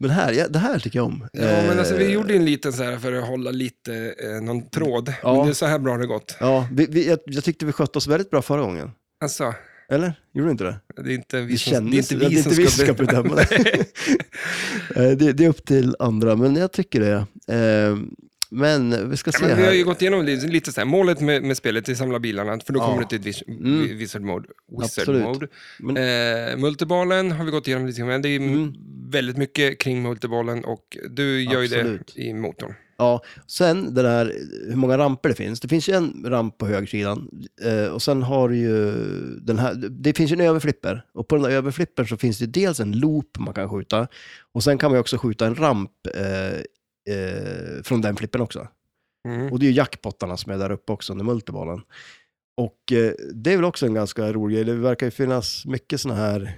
B: men här, ja, det här tycker jag om.
A: Ja, men alltså, vi
B: Eh,
A: gjorde en liten så här för att hålla lite eh, någon tråd.
B: Ja.
A: Men det är så här bra det gått.
B: Ja, vi, vi, jag, jag tyckte vi skötte oss väldigt bra förra gången.
A: Alltså,
B: Eller? Gjorde du inte det?
C: Det är inte vi
B: Det
C: som,
B: kändes,
C: det är inte
B: ja,
C: vi som
B: vi
C: ska bedöma.
B: bedöma det. Eh, det. Det är upp till andra, men jag tycker det. Eh, Men vi ska se
A: Ja, men vi har ju
B: här.
A: gått igenom lite, lite så här, målet med, med spelet är att samla bilarna, för då
B: Ja. Mm.
A: kommer du till ett vis, vi- wizard mode. Wizard
B: Absolut.
A: mode.
B: Men-
A: Eh, multiballen har vi gått igenom lite, men det är
B: Mm.
A: väldigt mycket kring multiballen och du gör ju det
B: Absolut.
A: i motorn.
B: Ja, sen det där hur många ramper det finns. Det finns ju en ramp på högersidan eh, och sen har du ju den här. Det finns ju en överflipper och på den där överflippern så finns det dels en loop man kan skjuta och sen kan man ju också skjuta en ramp eh, eh, från den flippen också.
A: Mm.
B: Och det är ju jackpottarna som är där uppe också under multibollen. Och eh, det är väl också en ganska rolig grej. Det verkar ju finnas mycket sådana här,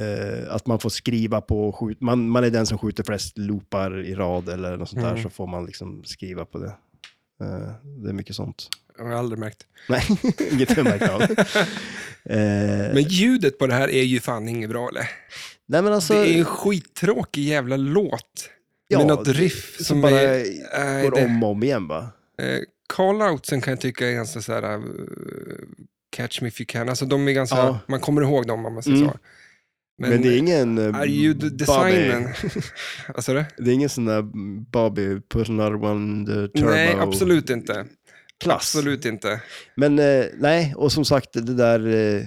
B: eh, att man får skriva på, och skjut, man, man är den som skjuter flest loopar i rad eller något sånt där,
A: Mm.
B: så får man liksom skriva på det. Eh, det är mycket sånt.
A: Jag har aldrig märkt.
B: Nej, inget jag märkt av. Eh,
A: Men ljudet på det här är ju fan inget bra eller?
B: nej men alltså,
A: det är en skittråkig jävla låt.
B: Ja,
A: med något
B: det-
A: riff som,
B: som bara
A: är... nej,
B: går
A: det-
B: om och om igen va?
A: Eh, Call-outsen kan jag tycka är ganska så här, eh, catch me if you can. Alltså de är ganska,
B: Ja.
A: man kommer ihåg dem om man säger
B: Mm.
A: så.
B: Men, det är ingen... eh,
A: är ju d-
B: Bobby-
A: designen. Vad sa du?
B: Det är ingen sån där Bobby, put another one, the turbo.
A: Nej, absolut inte.
B: Klass.
A: Absolut inte.
B: Men eh, nej, och som sagt det där eh,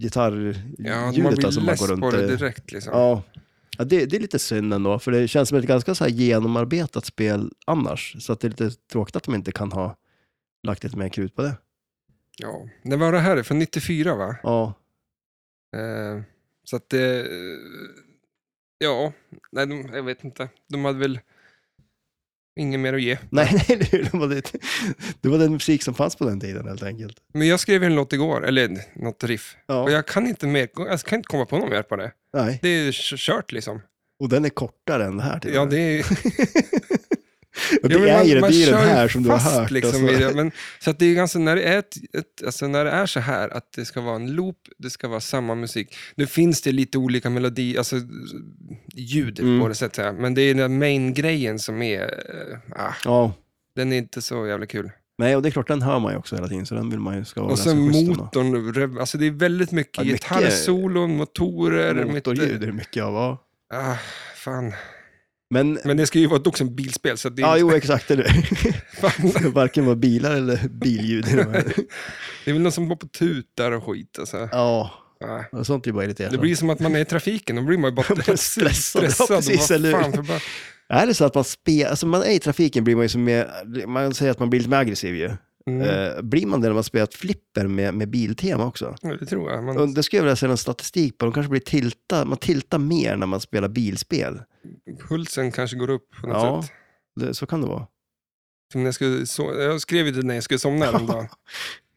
B: gitarrljudet
A: Ja, man blir
B: alltså, man
A: less
B: går runt
A: på det
B: eh,
A: direkt liksom.
B: Ja, ja det, det är lite synd ändå, för det känns som ett ganska så här genomarbetat spel annars. Så att det är lite tråkigt att de inte kan ha lagt lite mer krut på det.
A: Ja. När var det här? Från 94 va?
B: Ja,
A: Eh, så att det... ja, nej de, jag vet inte. De hade väl inget mer att ge.
B: nej, nej, det var, det, det var den musik som fanns på den tiden helt enkelt.
A: Men jag skrev en låt igår, eller något riff.
B: Ja,
A: Och jag kan inte, mer, jag kan inte komma på något mer på det.
B: nej.
A: Det är k- kört liksom.
B: Och den är kortare än det här till och
A: Ja,
B: med.
A: det är,
B: Och det
A: ja, men
B: är
A: man-
B: ju det,
A: man
B: det är ju
A: kör
B: den
A: ju
B: här som du har
A: fast,
B: hört.
A: Liksom,
B: alltså.
A: i det. Men, så att det är ganska, när det är, ett, ett, alltså, när det är så här, att det ska vara en loop, det ska vara samma musik. Nu finns det lite olika melodi, alltså ljud
B: Mm.
A: på det sättet. här. Men det är den main-grejen som är, eh, ah,
B: Ja,
A: den är inte så jävla kul.
B: nej, och det är klart den hör man ju också hela tiden, så den vill man ju ska vara
A: Och sen
B: ganska schysst ändå.
A: motorn, rev- alltså det är väldigt mycket
B: Ja, mycket-
A: gitarrsolon, motorer. mitt-
B: Motorljud är det mycket av, ja.
A: Ah, fan.
B: Men,
A: Men det ska ju vara också en bilspel, så att det är
B: ja jo exakt, eller
A: fan,
B: Det ska varken vara bilar eller billjud. i de här.
A: Det är väl någon som går på tutar och skit. Alltså.
B: ja,
A: Ja.
B: och sånt är bara irriterande.
A: Det blir som att man är i trafiken, då blir man ju bara
B: Man är stressad. Ja,
A: stressad. och
B: precis,
A: vad
B: eller hur?
A: fan för bara-
B: Är det så att man spelar, alltså man är i trafiken blir man ju som mer, man säger att man blir lite mer aggressiv ju.
A: Mm,
B: Eh, blir man det när man spelat flipper med, med biltema också?
A: det tror jag.
B: Och
A: Man,
B: det skulle jag vilja se någon statistik på, de kanske blir tilta, man tiltar mer när man spelar bilspel.
A: pulsen kanske går upp på något
B: Ja.
A: sätt.
B: Det, så kan det vara.
A: Som när jag, skulle so jag skrev ju det när jag skulle somna en dag.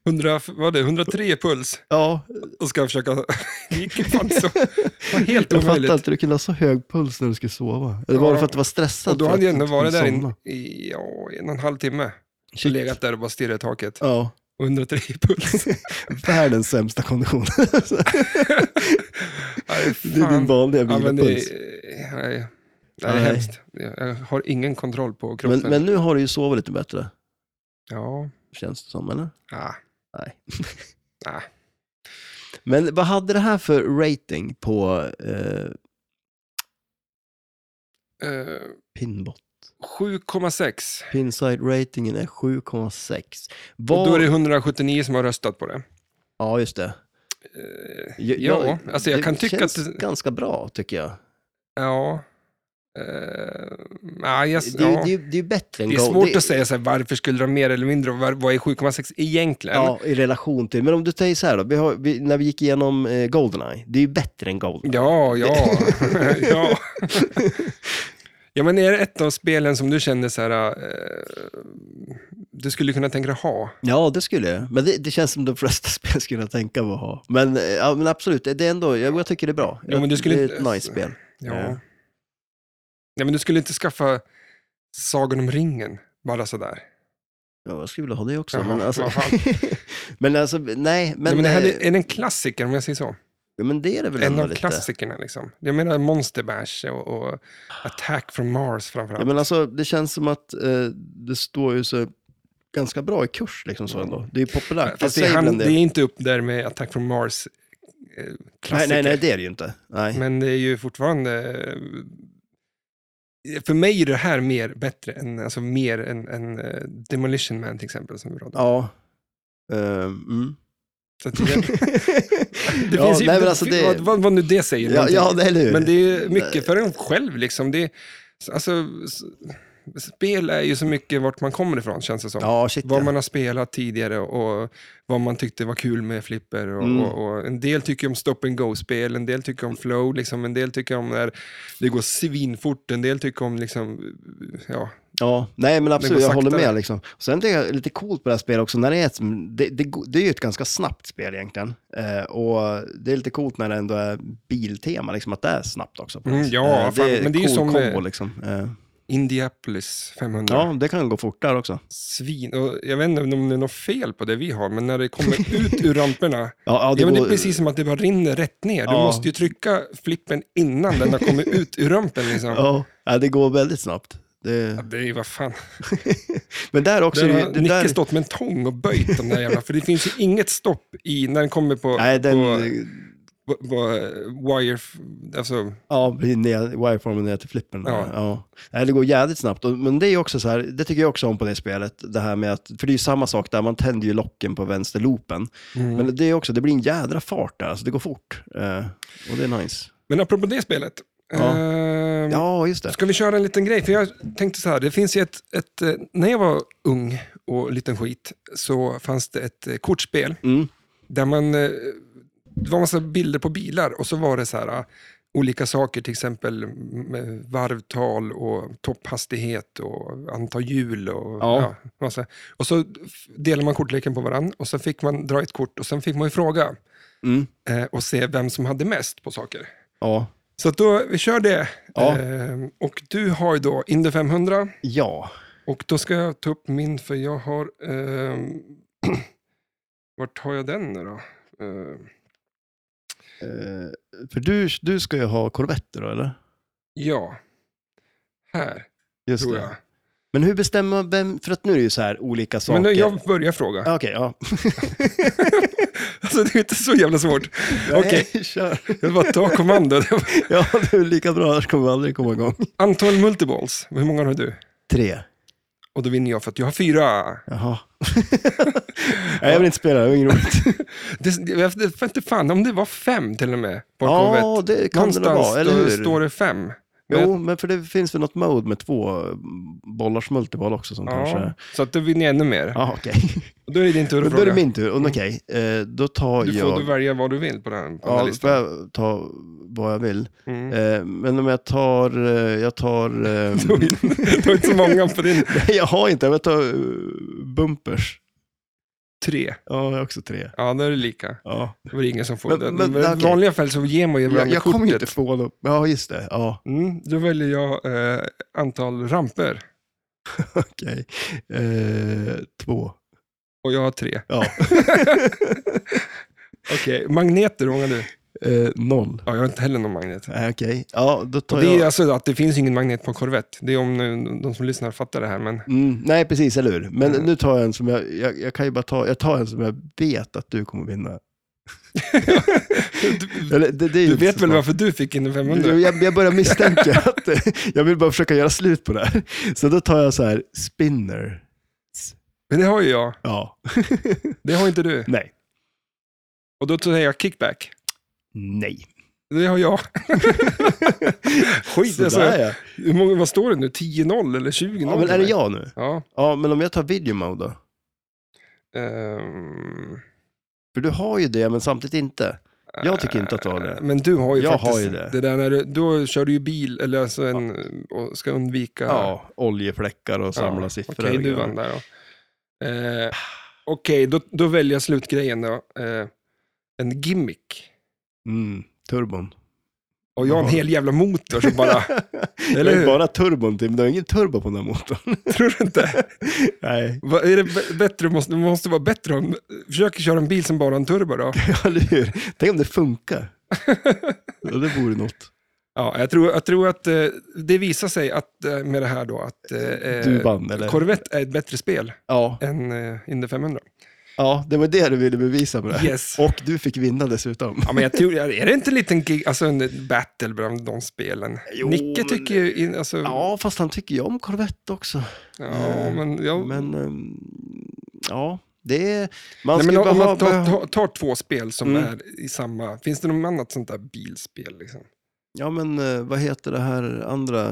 A: 100, vad var det, 103 puls
B: Ja,
A: och ska försöka... Det gick ju fan så. Det var helt
B: jag fattar
A: omöjligt.
B: inte, du kunde ha så hög puls när du skulle sova. Eller var
A: Ja.
B: det för att du var stressad?
A: Och då
B: för
A: hade jag
B: att du
A: ändå
B: inte
A: varit
B: kunde
A: där
B: somna?
A: i, i ja, en och en halv timme. Så
B: Shit.
A: legat där och bara stirrat i taket.
B: Ja.
A: 103 puls.
B: Världens sämsta kondition.
A: Aj,
B: det är
A: fan.
B: din vanliga
A: Ja, men det,
B: vilopuls.
A: nej, det är
B: Nej.
A: hemskt. Jag har ingen kontroll på
B: men,
A: kroppen.
B: men nu har du ju sovit lite bättre,
A: Ja,
B: känns det som, eller?
A: ah,
B: Nej.
A: ah.
B: Men vad hade det här för rating på eh,
A: Eh,
B: Pinbot?
A: 7,6.
B: Pinside-ratingen är 7,6.
A: Och
B: Vad...
A: då är det 179 som har röstat på det.
B: Ja, just det.
A: Eh,
B: Jag,
A: Ja, alltså jag
B: det
A: kan tycka
B: känns
A: att...
B: ganska bra, tycker jag.
A: Ja. Eh, nej, jag,
B: Det, är ju-
A: ja.
B: det, är ju- det är ju bättre än
A: Det är
B: Go-
A: svårt att säga så här, varför skulle de ha mer eller mindre och var- vad är 7,6 egentligen?
B: Ja, i relation till. Men om du säger så här då, vi har, vi, när vi gick igenom eh, Goldeneye, det är ju bättre än Goldeneye.
A: Ja, ja. ja. ja, men är det ett av spelen som du känner så här, eh, du skulle kunna tänka dig ha?
B: Ja, det skulle jag. Men det, det känns som de flesta spel skulle jag tänka mig att ha. Men, eh, ja, men absolut, det är ändå, jag, jag tycker det är bra.
A: Ja, men du skulle
B: det är
A: inte-
B: ett nice spel.
A: Ja.
B: Eh.
A: ja, men du skulle inte skaffa Sagan om ringen bara sådär?
B: Ja, jag skulle vilja ha det också.
A: Jaha,
B: men, alltså,
A: vad fan.
B: men alltså, nej. Men,
A: Men, men det här är,
B: eh,
A: är det en klassiker om jag säger så?
B: ja, men det är det väl
A: En
B: ändå
A: av
B: lite.
A: klassikerna liksom. Jag menar Monster Bash och, och Attack from Mars framförallt.
B: Ja, men alltså, det känns som att eh, det står ju så ganska bra i kurs liksom så ändå. Det är ju populärt.
A: Fast
B: det
A: det är,
B: säger väl en
A: han, det
B: del.
A: är inte upp där med Attack from Mars eh,
B: Nej,
A: klassiker.
B: nej, nej, det är det ju inte. Nej.
A: Men det är ju fortfarande... eh, För mig är det här mer bättre än, alltså mer än, än eh, Demolition Man till exempel. Som vi pratade om.
B: Ja. Ehm, mm.
A: Så att det, det
B: ja,
A: finns ju,
B: nej, men alltså det...
A: vad, vad, vad nu det säger.
B: Ja,
A: någonting.
B: ja, det- eller hur?
A: Men det är mycket för en själv liksom. Det är, alltså, s- spel är ju så mycket vart man kommer ifrån känns det som.
B: Ja, shit
A: Vad
B: ja.
A: man har spelat tidigare och vad man tyckte var kul med flipper. Och,
B: Mm.
A: och, och en del tycker om stop and go-spel, en del tycker om flow, liksom, en del tycker om när det går svinfort, en del tycker om liksom, ja,
B: Ja, nej men absolut,
A: går
B: jag håller
A: saktare.
B: med. Liksom. Och sen tycker jag det är lite coolt på det här spelet också, när det, är ett, som- det, det, go- det är ju ett ganska snabbt spel egentligen. Eh, och det är lite coolt när det ändå är biltema, liksom, att det är snabbt också. på något
A: Mm,
B: sätt.
A: ja,
B: Eh,
A: fan,
B: det är
A: men det är ju
B: cool
A: som,
B: Kombo,
A: eh,
B: liksom. eh,
A: Indianapolis 500.
B: ja, det kan gå fort där också.
A: Svin, och jag vet inte om det är något fel på det vi har, men när det kommer ut ur ramperna,
B: Ja, ja,
A: det, ja, men det
B: går-
A: är precis som att det bara rinner rätt ner. Du
B: Ja.
A: måste ju trycka flippen innan den har kommit ut ur rampen. Liksom.
B: ja, ja, det går väldigt snabbt. Det,
A: Ja, Det är ju vad fan.
B: men där också...
A: Där
B: är ju-
A: har
B: det
A: Nicke
B: där-
A: stått med en tång och böjt de där jävla, för det finns ju inget stopp i när den kommer på,
B: Nej, den...
A: på, på, på wire, alltså,
B: Ja, precis, ner- wireformen ner till flippen.
A: Ja.
B: Ja. Nej, det går jävligt snabbt. Och- Men det är ju också så här, det tycker jag också om på det spelet, det här med att, för det är ju samma sak där, man tänder ju locken på vänsterloopen.
A: Mm.
B: Men det är också, det blir en jädra fart där, alltså det går fort. Eh, och det är nice.
A: men apropå det spelet.
B: Ja.
A: ehm,
B: Ja, just det.
A: Ska vi köra en liten grej? För jag tänkte så här, det finns ju ett, ett, eh, när jag var ung och liten skit så fanns det ett eh, kortspel
B: Mm.
A: där man, eh, det var massa bilder på bilar och så var det så här eh, olika saker, till exempel mm, eh, varvtal och topphastighet och antal hjul och
B: Ja.
A: massa. Och så f- delade man kortleken på varandra och så fick man dra ett kort och sen fick man ju fråga
B: Mm.
A: eh, och se vem som hade mest på saker.
B: Ja.
A: Så att då, vi kör det.
B: Ja.
A: Ehm, och du har ju då Indy 500.
B: Ja.
A: Och då ska jag ta upp min, för jag har... ehm, vart har jag den nu då? Ehm,
B: Eh, för du, du ska ju ha korvetter då, eller?
A: ja. Här,
B: Just
A: tror
B: det.
A: jag.
B: Men hur bestämmer man vem, för att nu är det ju så här olika saker.
A: Men nu, jag börjar fråga.
B: Ja, Okej, ja.
A: Alltså, det är inte så jävla svårt. Okej.
B: Nej, kör.
A: Jag bara ta kommando.
B: Ja, det är lika bra, annars kommer vi aldrig komma igång.
A: Antal multiballs, hur många har du?
B: Tre.
A: Och då vinner jag för att jag har fyra.
B: Jaha. Nej, jag vill inte spela, det var inget roligt.
A: Det, jag vet inte fan om det var fem till och med. På
B: Ja,
A: korvet.
B: det kan det
A: Någonstans
B: väl vara, eller hur?
A: då står det fem. Men
B: Jo, men för det finns väl något mode med två bollars multiboll också som kanske...
A: Ja, så att då vinner jag ännu mer.
B: Ja, okej.
A: Och Då är det din tur
B: Men
A: att
B: då är det
A: fråga.
B: min tur. Och Okej, eh, då tar
A: Du får
B: jag...
A: då välja vad du vill på den här, på den här
B: ja, får
A: listan.
B: jag ta vad jag vill?
A: Mm.
B: Eh, men om jag tar... eh, Jag tar... eh,
A: Du har inte så många på din.
B: Nej, jag har inte, men jag tar eh, bumpers.
A: Tre.
B: Ja, jag har också tre.
A: Ja, då är det lika.
B: Ja.
A: Det var ingen som får
B: Men-
A: den.
B: men-
A: Men, I
B: okej.
A: vanliga fall så ger man ju
B: Jag,
A: varandra
B: jag kommer ju
A: kortet.
B: inte få dem. Ja, just det. Ja,
A: Mm, då väljer jag eh, antal ramper.
B: okej. Eh, två.
A: Och jag har tre.
B: Ja.
A: Okej, magneter hur många har du?
B: eh, noll.
A: Ja, jag har inte heller någon magnet.
B: Nej, Eh, okej. Ja, då tar
A: Och det är
B: jag...
A: alltså att det finns ingen magnet på Corvette. Det är om nu de som lyssnar fattar det här, men
B: Mm, nej, precis, eller hur? Men
A: Mm.
B: nu tar jag en som jag, jag, jag kan ju bara ta, jag tar en som jag vet att du kommer vinna.
A: du,
B: Eller, det, det är ju
A: du
B: inte
A: vet
B: så
A: väl
B: smart.
A: varför du fick in 500?
B: Jo, Jag, jag börjar misstänka att eh, jag vill bara försöka göra slut på det här. Så då tar jag så här, spinner.
A: Men det har ju jag.
B: Ja.
A: Det har inte du.
B: Nej.
A: Och då säger jag kickback.
B: Nej.
A: Det har jag. Skit alltså.
B: Sådär ja.
A: Hur många, vad står det nu? 10-0 eller 20-0?
B: ja. Men är det jag nu?
A: Ja.
B: Ja, men om jag tar video mode då?
A: ehm,
B: För du har ju det, men samtidigt inte. Jag tycker inte att du har det.
A: Men du har ju
B: Jag
A: faktiskt
B: har ju det.
A: där när du, då kör du ju bil, eller alltså en, och ska undvika...
B: Ja, oljefläckar och samla siffror.
A: Okej,
B: och
A: du
B: grejer.
A: vann där då. Eh, Okej, då, då väljer jag slutgrejen då. Eh, en gimmick.
B: Mm, turbon.
A: Och jag har en
B: Jaha.
A: hel jävla motor som bara,
B: Eller
A: hur?
B: Bara turbon, Tim. Det är ingen turbo på den här motorn.
A: tror du inte?
B: Nej.
A: Vad är det b- bättre, måste, måste vara bättre om, försök köra en bil som bara har en turbo då.
B: Ja, eller hur? Tänk om det funkar. Ja, det vore något.
A: Ja, jag tror, jag tror att eh, det visar sig att eh, med det här då att eh,
B: Du vann, eller?
A: Corvette är ett bättre spel
B: Ja.
A: än eh, Indy 500.
B: Ja, det var det du ville bevisa med det.
A: Yes. Mm.
B: Och du fick vinna dessutom.
A: Ja, men jag tror, är det inte en liten gig, alltså en battle bland de spelen?
B: Jo,
A: Nicke tycker ju, in- alltså, ja,
B: Ja, fast han tycker ju om Corvette också.
A: men, jag,
B: Men, ehm, ja, det är... Man
A: nej,
B: ska
A: men
B: ju bara
A: om
B: ha...
A: man
B: Behöva,
A: tar, tar, tar två spel som
B: Mm.
A: är i samma, finns det något annat sånt där bilspel? Liksom?
B: Ja, men eh, vad heter det här andra?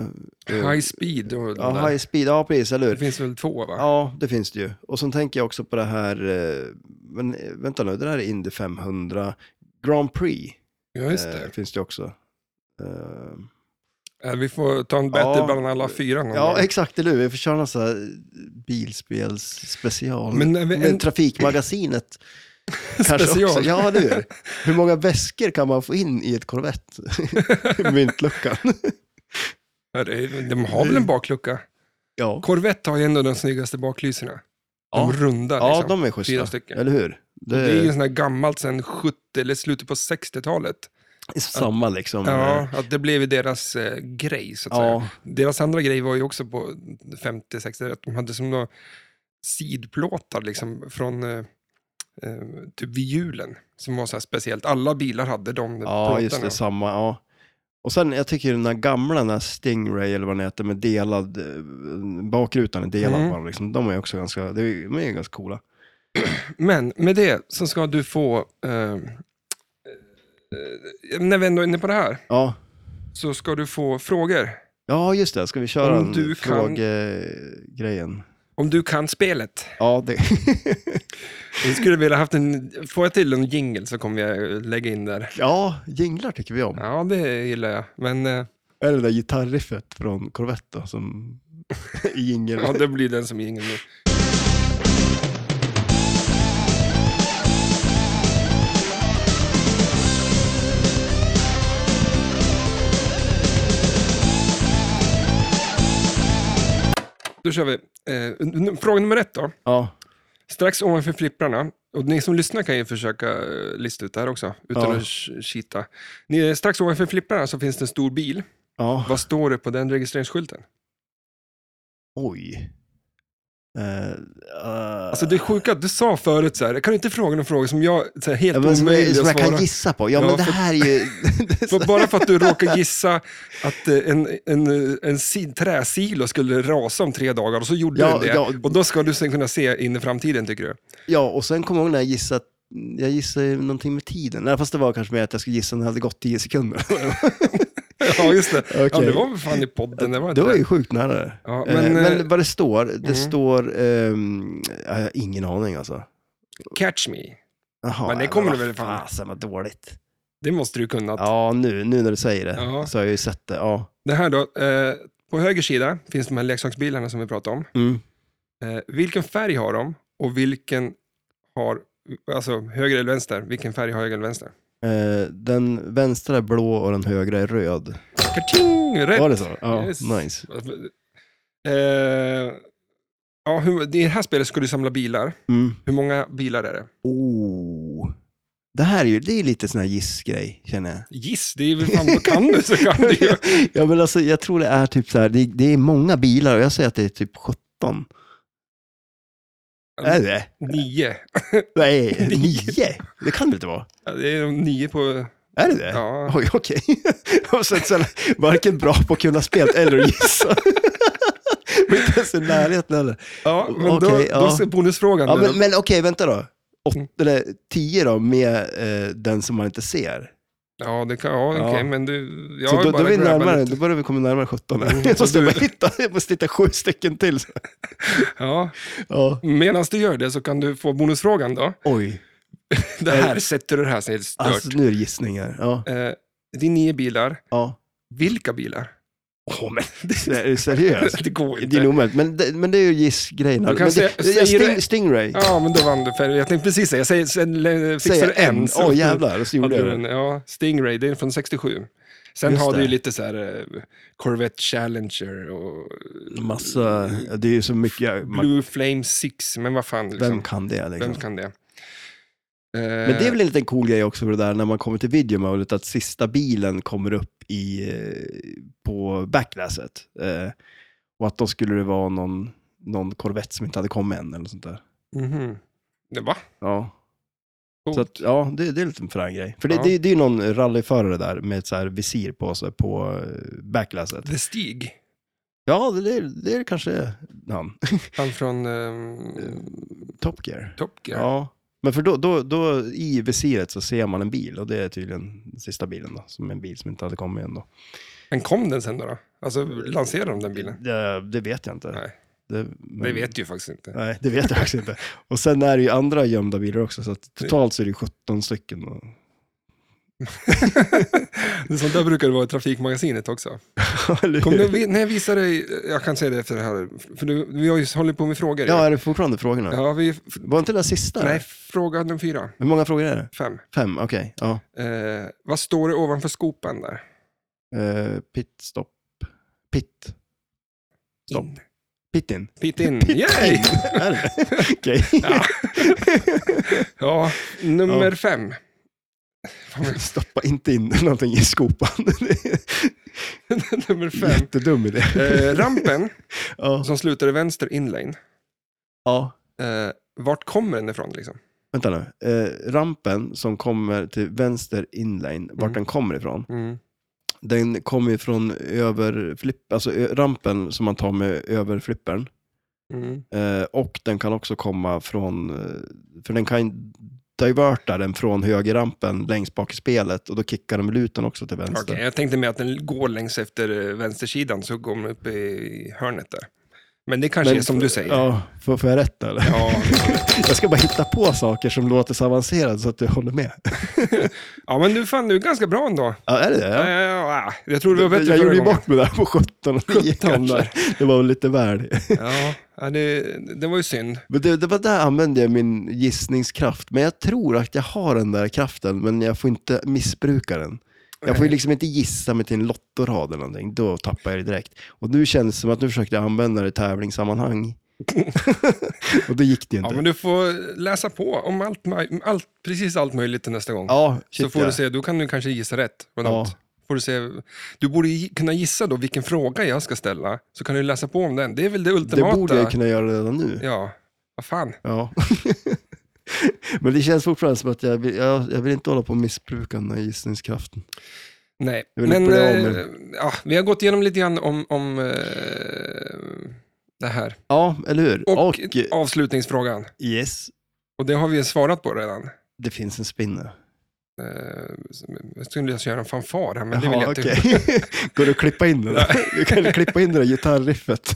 B: eh,
A: High speed och de
B: ja,
A: där.
B: high speed. Ja, precis, eller
A: Det
B: hur?
A: finns väl två va?
B: Ja, det finns det ju. Och sen tänker jag också på det här, eh, men eh, vänta nu, det där är Indy 500. Grand Prix
A: Ja, just
B: eh,
A: det.
B: finns det ju också. Eh,
A: Eh, Vi får ta en battle
B: ja.
A: bland alla fyra någon
B: Ja,
A: gång.
B: exakt, eller hur? Vi får köra någon sån här bilspelsspecial.
A: Men
B: Men,
A: när vi- en-
B: Trafikmagasinet kanske
A: Special.
B: också. Ja, det är. Hur många väskor kan man få in i ett Corvette? Myntluckan.
A: Ja, det- De har
B: Mm.
A: väl en baklucka?
B: Ja,
A: Corvette har ju ändå de snyggaste baklyserna. De
B: Ja.
A: runda liksom.
B: ja de
A: Fyra
B: är schyssta.
A: stycken.
B: Eller hur? Det
A: Det är ju
B: är
A: sån här gammalt sen 70 eller slutet på 60-talet.
B: samma liksom.
A: Ja, att det blev ju deras eh, grej så att säga.
B: ja.
A: Deras andra grej var ju också på 50-60, att de hade som några sidplåtar liksom från eh, eh, typ vid hjulen som var så här speciellt. Alla bilar hade de
B: ja, just
A: plåtarna.
B: det, samma. Ja. Och sen, jag tycker den där gamla, den där Stingray eller vad den heter, med delad, eh, bakrutan är delad
A: Mm.
B: bara liksom. De är också ganska, de är, de är ganska coola.
A: Men med det så ska du få, eh, eh, när vi ändå är inne på det här,
B: Ja.
A: så ska du få frågor.
B: Ja, just det. Ska vi köra
A: Om
B: en
A: du kan-
B: frågegrejen?
A: Om du kan spelet.
B: Ja, det...
A: Vi skulle vilja haft en, får jag till en jingle så kommer jag lägga in där.
B: ja, jinglar tycker vi om.
A: Ja, det gillar jag. Men eh,
B: Är det där gitarriffet från Corvette då, som i jingel?
A: ja, det blir den som jingle nu. Då kör vi. Eh, n- fråga nummer ett då.
B: Ja,
A: Strax ovanför flipprarna, och ni som lyssnar kan ju försöka eh, lista ut det här också, utan
B: Ja.
A: att ch- cheata. Ni, eh, strax ovanför flipprarna så finns det en stor bil.
B: ja.
A: Vad står det på den registreringsskylten?
B: Oj. Eh, eh,
A: Alltså det är sjuka, att du sa förut så här, kan du inte fråga någon fråga som jag, så här, helt
B: ja, men, som, jag-
A: omöjlig
B: som
A: att
B: jag kan
A: svara?
B: gissa på. Ja,
A: Ja,
B: men det
A: för-
B: här är ju... det är så-
A: För bara för att du råkar gissa att eh, en, en, eh, en si- träsilo skulle rasa om tre dagar och så gjorde
B: Ja,
A: den det.
B: ja.
A: Och då ska du sen kunna se in i framtiden tycker du?
B: ja, och sen kommer jag ihåg när jag gissade jag gissade ju någonting med tiden. Nej, fast det var kanske med att jag skulle gissa när det hade gått 10 sekunder.
A: Ja, just det. Ja,
B: Okej.
A: det var väl fan i podden, det var
B: Det
A: inte
B: var
A: det.
B: ju sjukt nära det.
A: Ja,
B: Eh,
A: men, eh,
B: men vad det står, det
A: mm.
B: står... ehm, jag har ingen aning alltså.
A: Catch me.
B: Jaha,
A: Men det kommer
B: vad
A: du väl fan-
B: Fasen vad dåligt.
A: Det måste du kunna.
B: Ja, nu, nu när du säger det
A: Ja.
B: så har jag ju sett det. Ja.
A: Det här då, eh, på höger sida finns de här leksaksbilarna som vi pratade om.
B: Mm.
A: Eh, vilken färg har de och vilken har, alltså höger eller vänster, vilken färg har höger eller vänster?
B: Eh, den vänstra är blå och den högra är röd.
A: Karting! Rätt!
B: Var det så? Ja,
A: Yes.
B: nice.
A: Eh, ja, hur, I det här spelet ska du samla bilar.
B: Mm.
A: Hur många bilar är det?
B: Oh. Det här är ju det är lite sån här gissgrej, känner jag.
A: Giss, det är väl fan, vad kan du så kan du ju.
B: ja, men alltså, jag tror det är typ så här, det, det är många bilar och jag säger att det är typ 17. Är det?
A: Nio.
B: Nej, nio? Det kan det inte vara.
A: Ja, Det är de nio på...
B: Är det det?
A: Ja.
B: Oj, okej. Jag har sett så här, varken bra på att kunna spela eller gissa. Men inte ens i närheten heller.
A: Ja, men då,
B: Okej, ja.
A: då ser bonusfrågan
B: Ja,
A: nu
B: men,
A: då.
B: men okej, vänta då. Åt,
A: Mm.
B: eller, tio då, med eh, den som man inte ser.
A: Ja, det kan, ja,
B: Ja.
A: okej, men du... Jag
B: Så
A: har
B: då,
A: bara
B: då, är vi
A: grabbat
B: närmare,
A: lite.
B: då börjar vi komma närmare 17. Här.
A: Mm,
B: jag,
A: så
B: måste
A: du-
B: bara hitta, jag måste hitta sju stycken till. Så.
A: Ja,
B: Ja.
A: medan du gör det så kan du få bonusfrågan då.
B: Oj,
A: Det
B: Eh,
A: här sätter du det här så är det stört.
B: alltså, nu är det gissningar. Ja,
A: Eh, det är nio bilar.
B: ja.
A: Vilka bilar?
B: Åh, men det är seriöst.
A: det går
B: Alltså, Det är
A: inte.
B: nog omöjligt, men, det- men det är ju gissgrejerna.
A: Du kan
B: Men det-
A: säga-
B: jag-
A: säger
B: Sting,
A: det-
B: Stingray.
A: Ja, men då vann du. För jag tänkte precis säga, jag säger, sen, le- fixar
B: Säger
A: du en.
B: Åh jävlar, och så gjorde
A: Hade
B: jag
A: du
B: det.
A: en, ja, Stingray, det är från 67. Sen
B: Just
A: har du ju
B: det.
A: lite så här eh, Corvette Challenger och
B: Massa, det är ju så mycket, man,
A: Blue Flame 6, men vad fan, liksom,
B: vem
A: vem,
B: kan det liksom?
A: kan det? Eh,
B: Men det är väl en liten cool grej också för det där när man kommer till videomålet, att sista bilen kommer upp i, eh, på backlasset. Eh, och att då skulle det vara någon, någon Corvette som inte hade kommit än eller något sånt där.
A: mhm. Det- Va?
B: Ja.
A: Coolt.
B: Så att, ja, det, det är en liten frän grej. För det,
A: Ja.
B: det, det är ju någon rallyförare där med ett så här visir på sig på eh, backlasset.
A: The Stig.
B: Ja, det, det, är- det är kanske han.
A: Han från ehm,
B: Eh, Top Gear.
A: Top Gear.
B: Ja. Men för då, då, då i visiret så ser man en bil och det är tydligen den sista bilen då, som är en bil som inte hade kommit än då.
A: Men kom den sen då? då? Alltså
B: Mm.
A: lanserade de den bilen?
B: Det, det vet jag inte.
A: Nej.
B: Det,
A: Det
B: men-
A: vet du ju faktiskt inte.
B: Nej, det vet jag faktiskt inte. Och sen är det ju andra gömda bilar också, så att totalt så är det 17 stycken. Och...
A: Det är sånt där brukar det vara i Trafikmagasinet också.
B: Eller
A: Kom
B: hur?
A: du, när jag visar dig, jag kan säga det efter det här, för du, vi har ju hållit på med frågor.
B: Ja, är det fortfarande frågorna?
A: ja vi, f-
B: Var inte det där sista?
A: nej, fråga nummer fyra,
B: Hur många frågor är det?
A: fem.
B: Fem, okej. Ja.
A: Eh, vad står det ovanför skopan där?
B: Uh, pit, stopp. Pit. Stopp.
A: In.
B: Pit in.
A: Pit in. Yay!
B: Är det? Okej.
A: Ja, nummer
B: Ja.
A: fem. Fan, vad-
B: Stoppa inte in någonting i skopan. Det är
A: nummer
B: en
A: fem.
B: Jättedum idé.
A: Eh, rampen
B: Ja.
A: som slutar i vänster inlane,
B: ja.
A: eh, vart kommer den ifrån liksom?
B: Vänta nu. Eh, rampen som kommer till vänster inlane, vart
A: Mm.
B: den kommer ifrån, den kommer ju från överflipp, alltså ö- rampen som man tar med överflippern.
A: Mm.
B: Eh, och den kan också komma från, eh, för den kan diverta den från högerrampen längst bak i spelet och då kickar de luten också till vänster.
A: Okej, jag tänkte med att den går längs efter eh, vänstersidan så går den upp i hörnet där. Men det kanske är som du säger.
B: Ja, får, får jag rätt eller?
A: Ja,
B: Jag ska bara hitta på saker som låter så avancerade så att du håller med.
A: ja men du fan, du är ganska bra ändå.
B: Ja, är det det?
A: Ja. Ja, jag tror du var bättre
B: jag
A: förra
B: gjorde ju
A: gången.
B: bort mig där på 17 och 9
A: 17 där.
B: kanske. Det var väl lite väl.
A: Ja, ja det, det var ju synd.
B: Men det, det var där använde jag min gissningskraft. Men jag tror att jag har den där kraften, men jag får inte missbruka den. Jag får ju liksom inte gissa mig till en lottorad eller någonting. Då tappar jag det direkt. Och nu känns det som att nu försökte jag använda det i tävlingssammanhang. och då gick det ju
A: Ja,
B: inte.
A: men du får läsa på om allt, möj- allt, precis allt möjligt till nästa gång.
B: Ja, shit,
A: så får
B: ja.
A: du se, då kan du kanske gissa rätt. på något.
B: Ja.
A: Får du, se, du borde ju kunna gissa då vilken fråga jag ska ställa, så kan du läsa på om den. Det är väl det
B: Det
A: ultimata.
B: borde jag kunna göra redan nu.
A: Ja, vad fan.
B: Ja. Men det känns fortfarande som att jag vill, jag, jag vill inte hålla på och missbruka den här gissningskraften.
A: Nej,
B: Jag vill inte
A: men
B: bli av med
A: eh, ja, vi har gått igenom lite grann om, om eh, det här.
B: Ja, eller hur?
A: Och,
B: Och, eh,
A: avslutningsfrågan.
B: yes,
A: Och det har vi svarat på redan.
B: det finns en spinner.
A: Eh, Jag skulle just göra en fanfar här, men det
B: Jaha,
A: vill jag inte.
B: okej. Går det att klippa in det där? Du kan klippa in det där gitarriffet.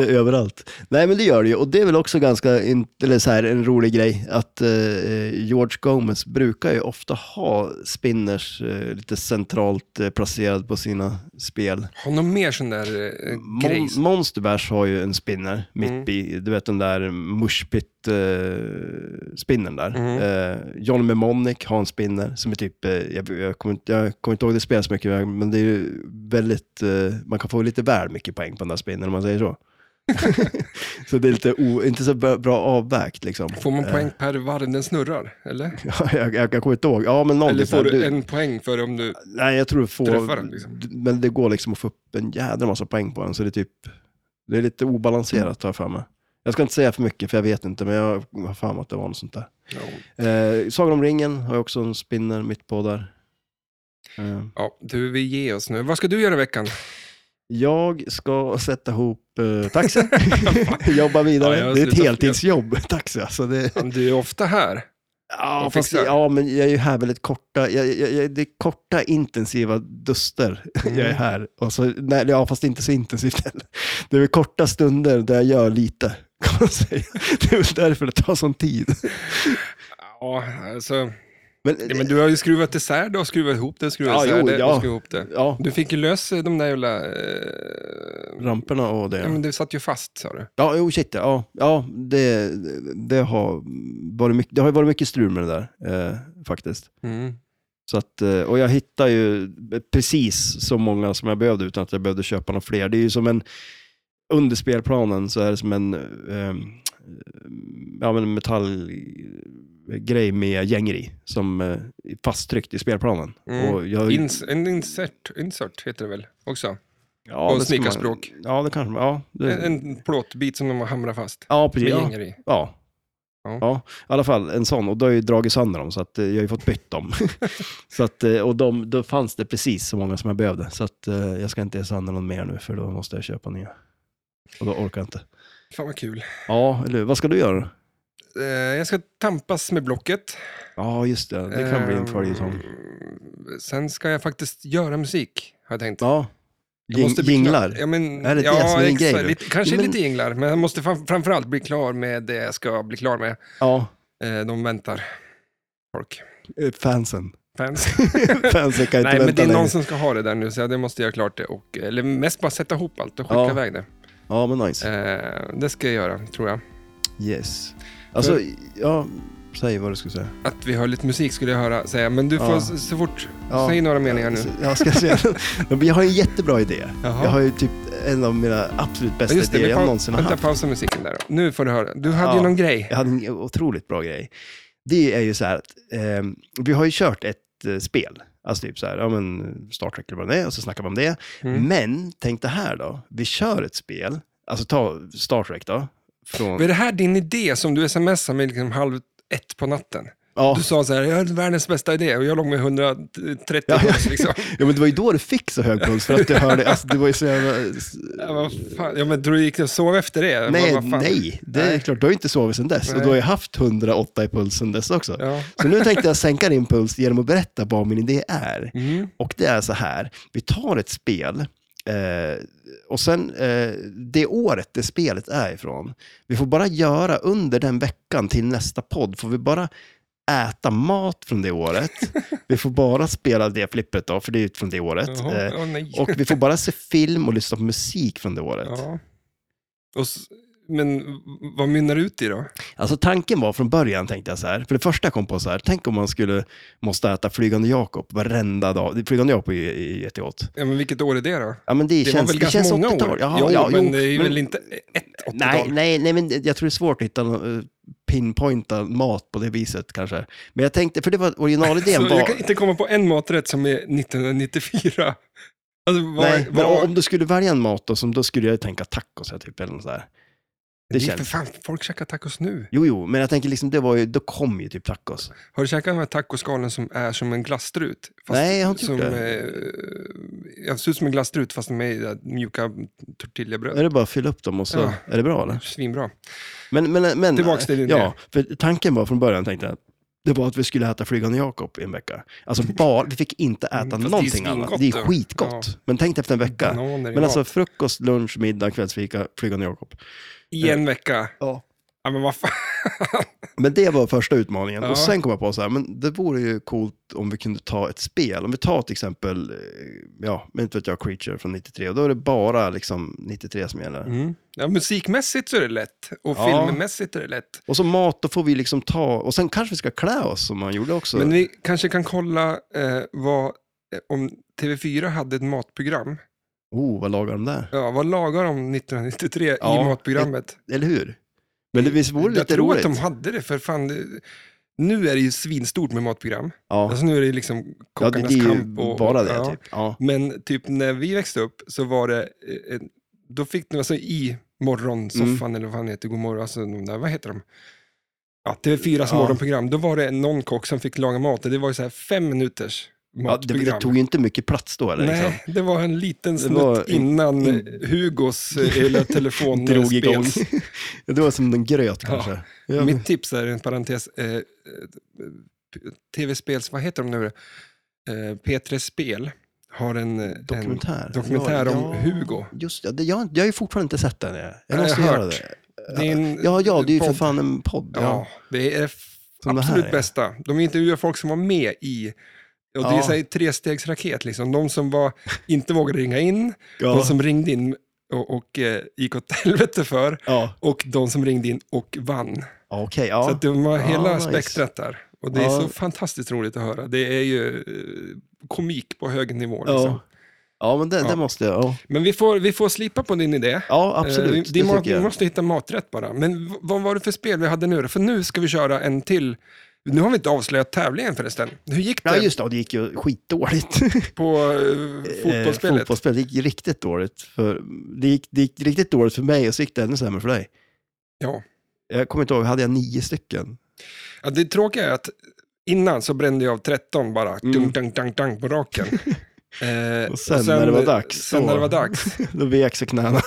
A: Ja.
B: överallt. Nej, men det gör det ju. Och det är väl också ganska, in, eller så här, en rolig grej, att eh, George Gomez brukar ju ofta ha spinners eh, lite centralt eh, placerad på sina spel.
A: Har någon mer sån där eh,
B: Mon-
A: grejs?
B: Monsterbash har ju en spinner mitt
A: Mm.
B: i, du vet den där mushpit-spinnen där.
A: Mm.
B: Eh, John Memonic har en spinner som är typ, eh, jag, jag, kommer inte, jag kommer inte ihåg det spelet så mycket, men det är ju väldigt, eh, man kan få lite väl mycket poäng på den där spinnen om man säger så. så det är lite o, inte så bra bra avvägt liksom.
A: Får man
B: Eh,
A: poäng per varv den snurrar? Eller?
B: Ja, jag, jag, jag kommer inte ihåg, ja men någon
A: Eller
B: så här,
A: får du
B: du-
A: en poäng för om du...
B: Nej, jag tror du
A: Träffar
B: får...
A: den, liksom.
B: Men det går liksom att få upp en jädra massa poäng på den, så det är typ... Det är lite obalanserat, tar jag för mig. Jag ska inte säga för mycket, för jag vet inte, men jag har för mig att det var något sånt där.
A: Ja.
B: Eh, Sagan om ringen har jag också en spinner mitt på där. Eh,
A: Ja, du, vi ger oss nu. Vad ska du göra i veckan?
B: jag ska sätta ihop eh, taxi, jobba vidare.
A: Ja, jag
B: det är ett
A: slutar-
B: heltidsjobb, taxi. Alltså det,
A: Fan, Du är ofta här.
B: ja,
A: Och
B: fast,
A: fixar.
B: ja, men jag är ju här väldigt korta, jag, jag, jag, det är korta intensiva duster jag
A: Mm.
B: är här. Och så, nej, ja, fast inte så intensivt heller. Det är väl korta stunder där jag gör lite, kan man säga. Det är väl därför det tar sån tid.
A: Ja, alltså,
B: Men,
A: ja, men du har ju skruvat isär det och skruvat ihop det och skruvat
B: Ja,
A: isär
B: jo,
A: det och
B: ja.
A: skruvat ihop det.
B: ja,
A: Du fick ju lös de där jävla... Eh,
B: ramperna och
A: ja,
B: det.
A: men det satt ju fast, sa du.
B: Ja, jo, shit, ja. Ja, det, det, har varit mycket, det har ju varit mycket strul med det där, eh, faktiskt.
A: Mm.
B: Så att, eh, och jag hittar ju precis så många som jag behövde utan att jag behövde köpa några fler. Det är ju som en, under spelplanen så är det som en eh, eh, ja, men metallgrej med gänger i, som eh, är fasttryckt i spelplanen.
A: Mm.
B: Och jag,
A: Ins, en insert, insert heter det väl också?
B: ja,
A: på
B: det ska man-
A: snickarspråk.
B: Ja, det kanske man- ja, det,
A: En, en plåtbit som de har hamrat fast.
B: ja,
A: Med
B: precis. Ja,
A: gänger i.
B: ja.
A: Ja.
B: Ja, i alla fall en sån. Och då har jag ju dragit sönder dem, så att eh, jag har ju fått bytt dem. så att, eh, och de, då fanns det precis så många som jag behövde. Så att, eh, jag ska inte ge sönder någon mer nu, för då måste jag köpa nya. Och då orkar jag inte.
A: Fan vad kul.
B: Ja, eller hur? Vad ska du göra då?
A: Eh, jag ska tampas med Blocket.
B: Ja, just det. Det kan bli en
A: Ehm,
B: följetong.
A: Sen ska jag faktiskt göra musik, har jag tänkt.
B: Ja.
A: Jag
B: Jing-
A: bli
B: jinglar.
A: Klar. Ja, men,
B: Är det det
A: ja,
B: som är din
A: exakt.
B: grej då?
A: Lite, kanske
B: Ja, men-
A: lite jinglar, men jag måste fram, framförallt bli klar med det jag ska bli klar med.
B: Ja,
A: Eh, de väntar, folk.
B: eh, fansen.
A: Fans.
B: fansen kan inte
A: Nej, men
B: vänta
A: det är
B: längre.
A: någon som ska ha det där nu, så jag det måste göra klart det. Och, eh, eller mest bara sätta ihop allt och skicka
B: Ja.
A: iväg det.
B: Ja, men nice.
A: Eh, det ska jag göra, tror jag.
B: Yes. Alltså, ja, säg vad du skulle säga.
A: Att vi hör lite musik skulle jag höra säga, men du får
B: Ja.
A: s- så fort,
B: Ja.
A: säg några meningar nu.
B: Så- Jag ska säga. Jag har en jättebra idé.
A: Jaha.
B: Jag har ju typ en av mina absolut bästa
A: Just det,
B: idéer
A: vi
B: jag
A: pa-
B: någonsin har
A: vänta,
B: haft.
A: pausa musiken där. Nu får du höra. Du hade ju
B: Ja.
A: någon grej.
B: Jag hade en otroligt bra grej. Det är ju så här att ehm, vi har ju kört ett eh, spel. Alltså typ så här, ja men Star Trek eller vad det är och så snackar man om det.
A: Mm.
B: Men tänk det här då. Vi kör ett spel. Alltså ta Star Trek då. Från,
A: Var det här din idé som du smsade mig liksom halv ett på natten?
B: ja.
A: Du sa så här, jag har världens bästa idé och jag låg med 130
B: Ja, ja.
A: puls liksom.
B: ja, men det var ju då du fick så hög puls för att du hörde, alltså det var ju så jävla...
A: Ja, vad fan. ja men du gick du och sov efter det?
B: Nej,
A: vad, vad fan?
B: nej, det är
A: Nej.
B: klart. Du har ju inte sovit sedan dess och
A: Nej.
B: du har ju haft 108 i puls sedan dess också.
A: Ja.
B: Så nu tänkte jag sänka din puls genom att berätta vad min idé är.
A: Mm.
B: Och det är så här, vi tar ett spel eh, och sen eh, det året det spelet är ifrån, vi får bara göra under den veckan till nästa podd, får vi bara äta mat från det året. Vi får bara spela det flippet då, för det är ju från det året.
A: Jaha,
B: Eh,
A: åh, nej.
B: och vi får bara se film och lyssna på musik från det året.
A: Ja. Och, s- men vad mynnar det ut i då?
B: Alltså tanken var från början, tänkte jag så här, för det första jag kom på så här, tänk om man skulle måste äta Flygande Jakob varenda dag. Flygande Jakob är ju är ju jättegott.
A: Ja, men vilket år är det då?
B: Ja, men
A: Det
B: det,
A: var
B: känns,
A: väl
B: det känns
A: ganska många
B: 80-tal.
A: år?
B: Ja,
A: jo,
B: ja,
A: men
B: jo,
A: det är
B: men-
A: väl inte ett 80-tal?
B: Nej, nej, nej, men jag tror det är svårt att hitta någon, eh, pinpointa mat på det viset kanske. Men jag tänkte, för det var
A: Så
B: originalidén var...
A: Jag kan inte komma på en maträtt som är 1994. Alltså, vad,
B: Nej, men
A: vad,
B: om du skulle välja en mat då, som, då skulle jag tänka tacos, ja, typ, eller något sådär.
A: det
B: Det
A: är för
B: känns...
A: fan, folk käkar tacos nu.
B: Jo, jo, men jag tänker liksom, det var ju, då kom ju typ tacos.
A: Har du käkat de här tacoskalen som är som en glasstrut?
B: Nej, jag har inte
A: som,
B: gjort det.
A: eh, Jag ser ut som en glasstrut fast med i det här mjuka tortillabröd.
B: Är det bara att fylla upp dem och så,
A: Ja.
B: är det bra eller?
A: Svinbra.
B: Men, men, men,
A: Tillbaks till din idé.
B: Ja, för tanken var från början, tänkte jag, det var att vi skulle äta Flygande Jakob i en vecka. Alltså bara, vi fick inte
A: Mm,
B: äta
A: fast det är
B: någonting
A: svingott
B: annat. Det är
A: då.
B: skitgott. Men tänk dig efter en vecka.
A: Bananer i
B: Men
A: mat.
B: alltså frukost, lunch, middag, kvällsfika, Flygande Jakob.
A: I en vecka.
B: Ja.
A: Ja, men vad fan.
B: Men det var första utmaningen.
A: Ja.
B: Och sen kom jag på så här, men det vore ju coolt om vi kunde ta ett spel. Om vi tar till exempel, eh, ja, men inte vet jag, Creature från 93. Och då är det bara liksom 93 som gäller.
A: Mm. Ja, musikmässigt så är det lätt och
B: Ja.
A: filmmässigt är det lätt.
B: Och så mat, då får vi liksom ta, och sen kanske vi ska klä oss som man gjorde också.
A: Men vi kanske kan kolla eh, vad, eh, om TV4 hade ett matprogram.
B: Oh, vad lagar de där?
A: Ja, vad lagar de 1993 i
B: Ja,
A: matprogrammet?
B: Eller hur? Men det visst vore
A: jag
B: lite
A: tror
B: roligt?
A: att de hade det, för fan. det- Nu är det ju svinstort med matprogram.
B: Ja.
A: Alltså nu är det liksom
B: ja, det,
A: kockarnas
B: det är ju
A: kamp. Och,
B: bara det
A: ja.
B: typ. Ja.
A: Men typ när vi växte upp så var det, eh, eh, då fick de alltså i morgonsoffan
B: Mm.
A: eller vad fan heter, godmorgon, alltså de där, vad heter de? Ja, TV4s
B: Ja.
A: morgonprogram, då var det någon kock som fick laga mat och det var ju så här fem minuters
B: Ja, det,
A: matprogram.
B: det tog ju inte mycket plats då eller? Liksom.
A: Nej, det var en liten snutt
B: var in-
A: innan Hugos eh, eller telefon
B: Drog igång.
A: spels.
B: det var som en gröt
A: Ja.
B: kanske. Ja.
A: Mitt tips är en parentes. Eh, eh, p- Tv-spels, vad heter de nu? Eh, P3 Spel har en, eh, en
B: Dokumentär.
A: dokumentär om Hugo.
B: Just det, det- jag, jag har ju fortfarande inte sett den. Jag,
A: jag
B: jag måste
A: har
B: göra
A: hört.
B: det.
A: Det är en
B: Ja, ja, det är ju för
A: podd.
B: fan en podd.
A: Ja,
B: Ja.
A: det är f-
B: Som det här
A: absolut
B: är.
A: bästa. De intervjuar folk som var med i och det är
B: Ja.
A: så här trestegsraket, liksom. de som var, inte vågade ringa in, de
B: Ja.
A: som ringde in och, och eh, gick åt helvete för,
B: Ja.
A: och de som ringde in och vann.
B: Ja, Okej,
A: Så
B: ja.
A: att de har hela
B: Ja, nice.
A: spektrat där. Och det är
B: Ja.
A: så fantastiskt roligt att höra. Det är ju eh, komik på hög nivå. Liksom.
B: ja. Ja, men det,
A: Ja.
B: det måste jag. Ja,
A: Men vi får, vi får slipa på din idé.
B: ja
A: Eh, vi,
B: absolut.
A: vi,
B: det
A: må,
B: tycker
A: vi
B: jag.
A: måste hitta maträtt bara. Men v- vad var det för spel vi hade nu då? För nu ska vi köra en till. Nu har vi inte avslöjat tävlingen förresten. Hur gick det
B: Ja, just det. och Det gick ju skitdåligt.
A: på eh,
B: Eh,
A: fotbollsspelet?
B: fotbollsspelet. Det gick riktigt dåligt. För, det, gick, det gick riktigt dåligt för mig och så gick det ännu sämre för dig.
A: Ja.
B: Jag kommer inte ihåg, hade jag nio stycken?
A: Ja, det tråkiga är att innan så brände jag av 13 bara, dung, dung, dung, dung, på raken. Eh,
B: Mm. Och sen när det var dags,
A: Sen
B: så-
A: när det var dags.
B: Då vek sig knäna.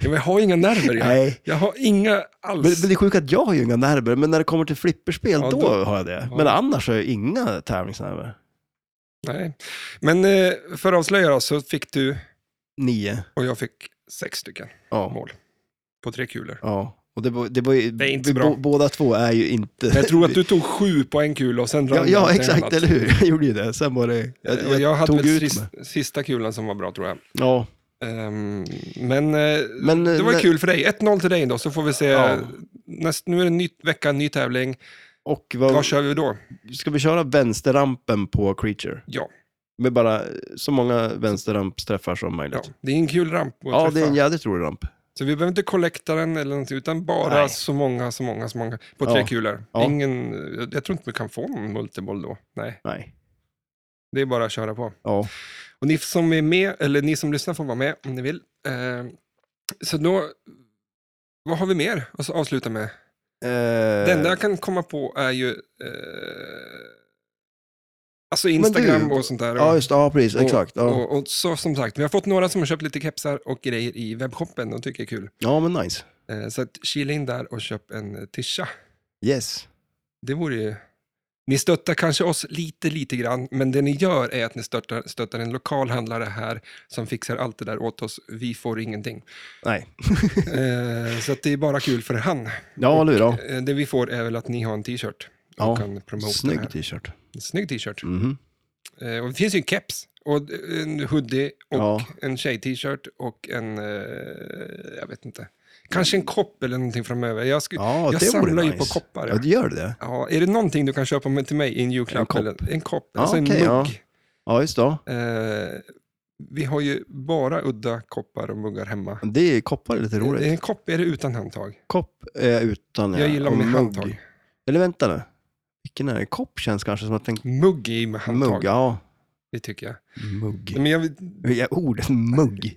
A: Ja, men jag har inga nerver. Jag,
B: Nej.
A: jag har inga alls.
B: Men, men det är sjukt att jag har ju inga nerver, men när det kommer till flipperspel,
A: Ja,
B: då,
A: då-
B: har jag det.
A: ja.
B: Men annars har jag inga tävlingsnerver.
A: Nej. men eh, för att avslöja då, så fick du
B: Nio.
A: och jag fick sex stycken
B: Ja.
A: mål på tre kulor.
B: ja. Och det, var- det, var ju,
A: Det är inte
B: vi
A: bra.
B: bå- Båda två är ju inte...
A: Men jag tror att du tog sju på en kula och sen
B: Ja,
A: ramlade
B: ja
A: allt
B: exakt,
A: annat.
B: eller hur? Jag gjorde ju det. Sen var det... Jag,
A: Jag, jag hade
B: tog
A: väl
B: ut
A: sist,
B: mig.
A: sista kulan som var bra tror jag.
B: Ja,
A: Ehm, men, eh,
B: men...
A: det var kul för dig. 1-0 till dig då, så får vi se.
B: Ja.
A: Näst, nu är det en ny vecka, en ny tävling.
B: Och
A: Vad
B: vad,
A: kör vi då?
B: ska vi köra vänsterrampen på Creature?
A: Ja,
B: Med bara så många vänsterrampsträffar som
A: ja.
B: möjligt. Ja,
A: det är en kul ramp att träffa.
B: det är en jävligt rolig ramp.
A: Så vi behöver inte kollekta den eller någonting, utan bara
B: Nej.
A: så många, så många, så många. På tre
B: Ja.
A: kulor.
B: Ja.
A: Ingen, jag, jag tror inte vi kan få någon multiboll då. Nej,
B: Nej.
A: det är bara att köra på.
B: Ja.
A: Och ni som är med, eller ni som lyssnar får vara med om ni vill. Eh, så då, vad har vi mer att avsluta med? Det
B: Eh,
A: enda jag kan komma på är ju eh, alltså Instagram
B: du-
A: och sånt där. Och,
B: Ja, just det. Ja, precis.
A: och,
B: Exakt. Ja,
A: Och, och så som sagt, vi har fått några som har köpt lite kepsar och grejer i webbshoppen och tycker det är kul.
B: ja men nice.
A: Eh, så att kila in där och köp en eh, tisha.
B: Yes.
A: Det vore ju... Ni stöttar kanske oss lite, lite grann, men det ni gör är att ni stöttar, stöttar en lokal handlare här som fixar allt det där åt oss. Vi får ingenting.
B: Nej.
A: Eh, så att det är bara kul för han.
B: Ja, eller hur? Ja.
A: Eh, det vi får är väl att ni har en t-shirt och
B: Ja,
A: kan promota det här.
B: Snygg t-shirt.
A: Snygg t-shirt.
B: Mhm.
A: Eh, och det finns ju en keps och en hoodie och
B: Ja.
A: en tjej-t-shirt och en, eh, jag vet inte, kanske en kopp eller någonting framöver. Jag, sku,
B: Ja,
A: jag
B: det vore
A: samlar ju
B: nice.
A: på koppar.
B: Ja,
A: Ja.
B: du gör det?
A: Ja, är det någonting du kan köpa med till mig i en julklapp?
B: En kopp.
A: Eller, en kopp,
B: Ja,
A: alltså en
B: okej, ja.
A: mugg.
B: Ja, just det.
A: Eh, vi har ju bara udda koppar och muggar hemma.
B: Det är koppar är lite
A: Eh,
B: roligt.
A: En kopp är det utan handtag.
B: Kopp är utan...
A: Jag gillar
B: och
A: med
B: mugg.
A: handtag.
B: Eller vänta nu. Vilken är det? Kopp känns kanske som att en
A: Mugg är ju med handtag, Mm.
B: mugg. Ja,
A: det tycker jag.
B: mugg.
A: Men jag, vill-
B: Ja, ordet mugg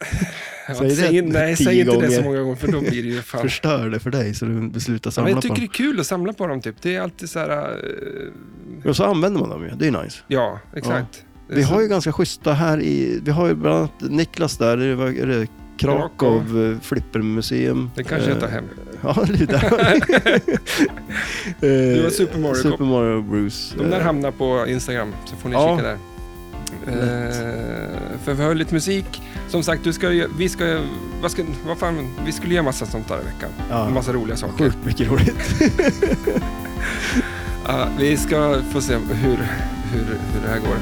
A: jag
B: Säg det
A: säger, nej,
B: tio
A: säg inte det så
B: gånger.
A: många gånger för då blir det ju fan
B: förstör det för dig så du beslutar
A: Ja,
B: samla
A: men jag
B: på
A: tycker det
B: dem.
A: är kul att samla på dem. Typ. Det är alltid så här... eh,
B: Och så använder man dem ju, det är ju nice.
A: ja, exakt.
B: Vi har ju ganska schyssta här i, vi har ju bland annat Niklas där, det var- är det Krakow eh, Flippermuseum.
A: Det kanske jag tar
B: Eh,
A: hem.
B: Ja, det där. Eh,
A: Du har Super Mario Cup.
B: Super Mario Bruce.
A: De där
B: Eh,
A: hamnar på Instagram, så får ni
B: ja.
A: kika där. Eh, för vi har ju lite musik. Som sagt, du ska, ju- vi ska... Vad ska vad fan, vi skulle göra massa sånt där i veckan.
B: Ja.
A: En massa roliga saker.
B: Sjukt mycket roligt.
A: Ja, vi ska få se hur, hur, hur det här går.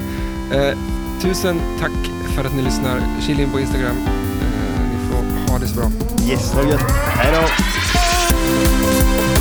A: Eh, tusen tack för att ni lyssnar. Kila in på Instagram. Eh, ni får ha det så bra.
B: Yes, ha det gött. Hej då.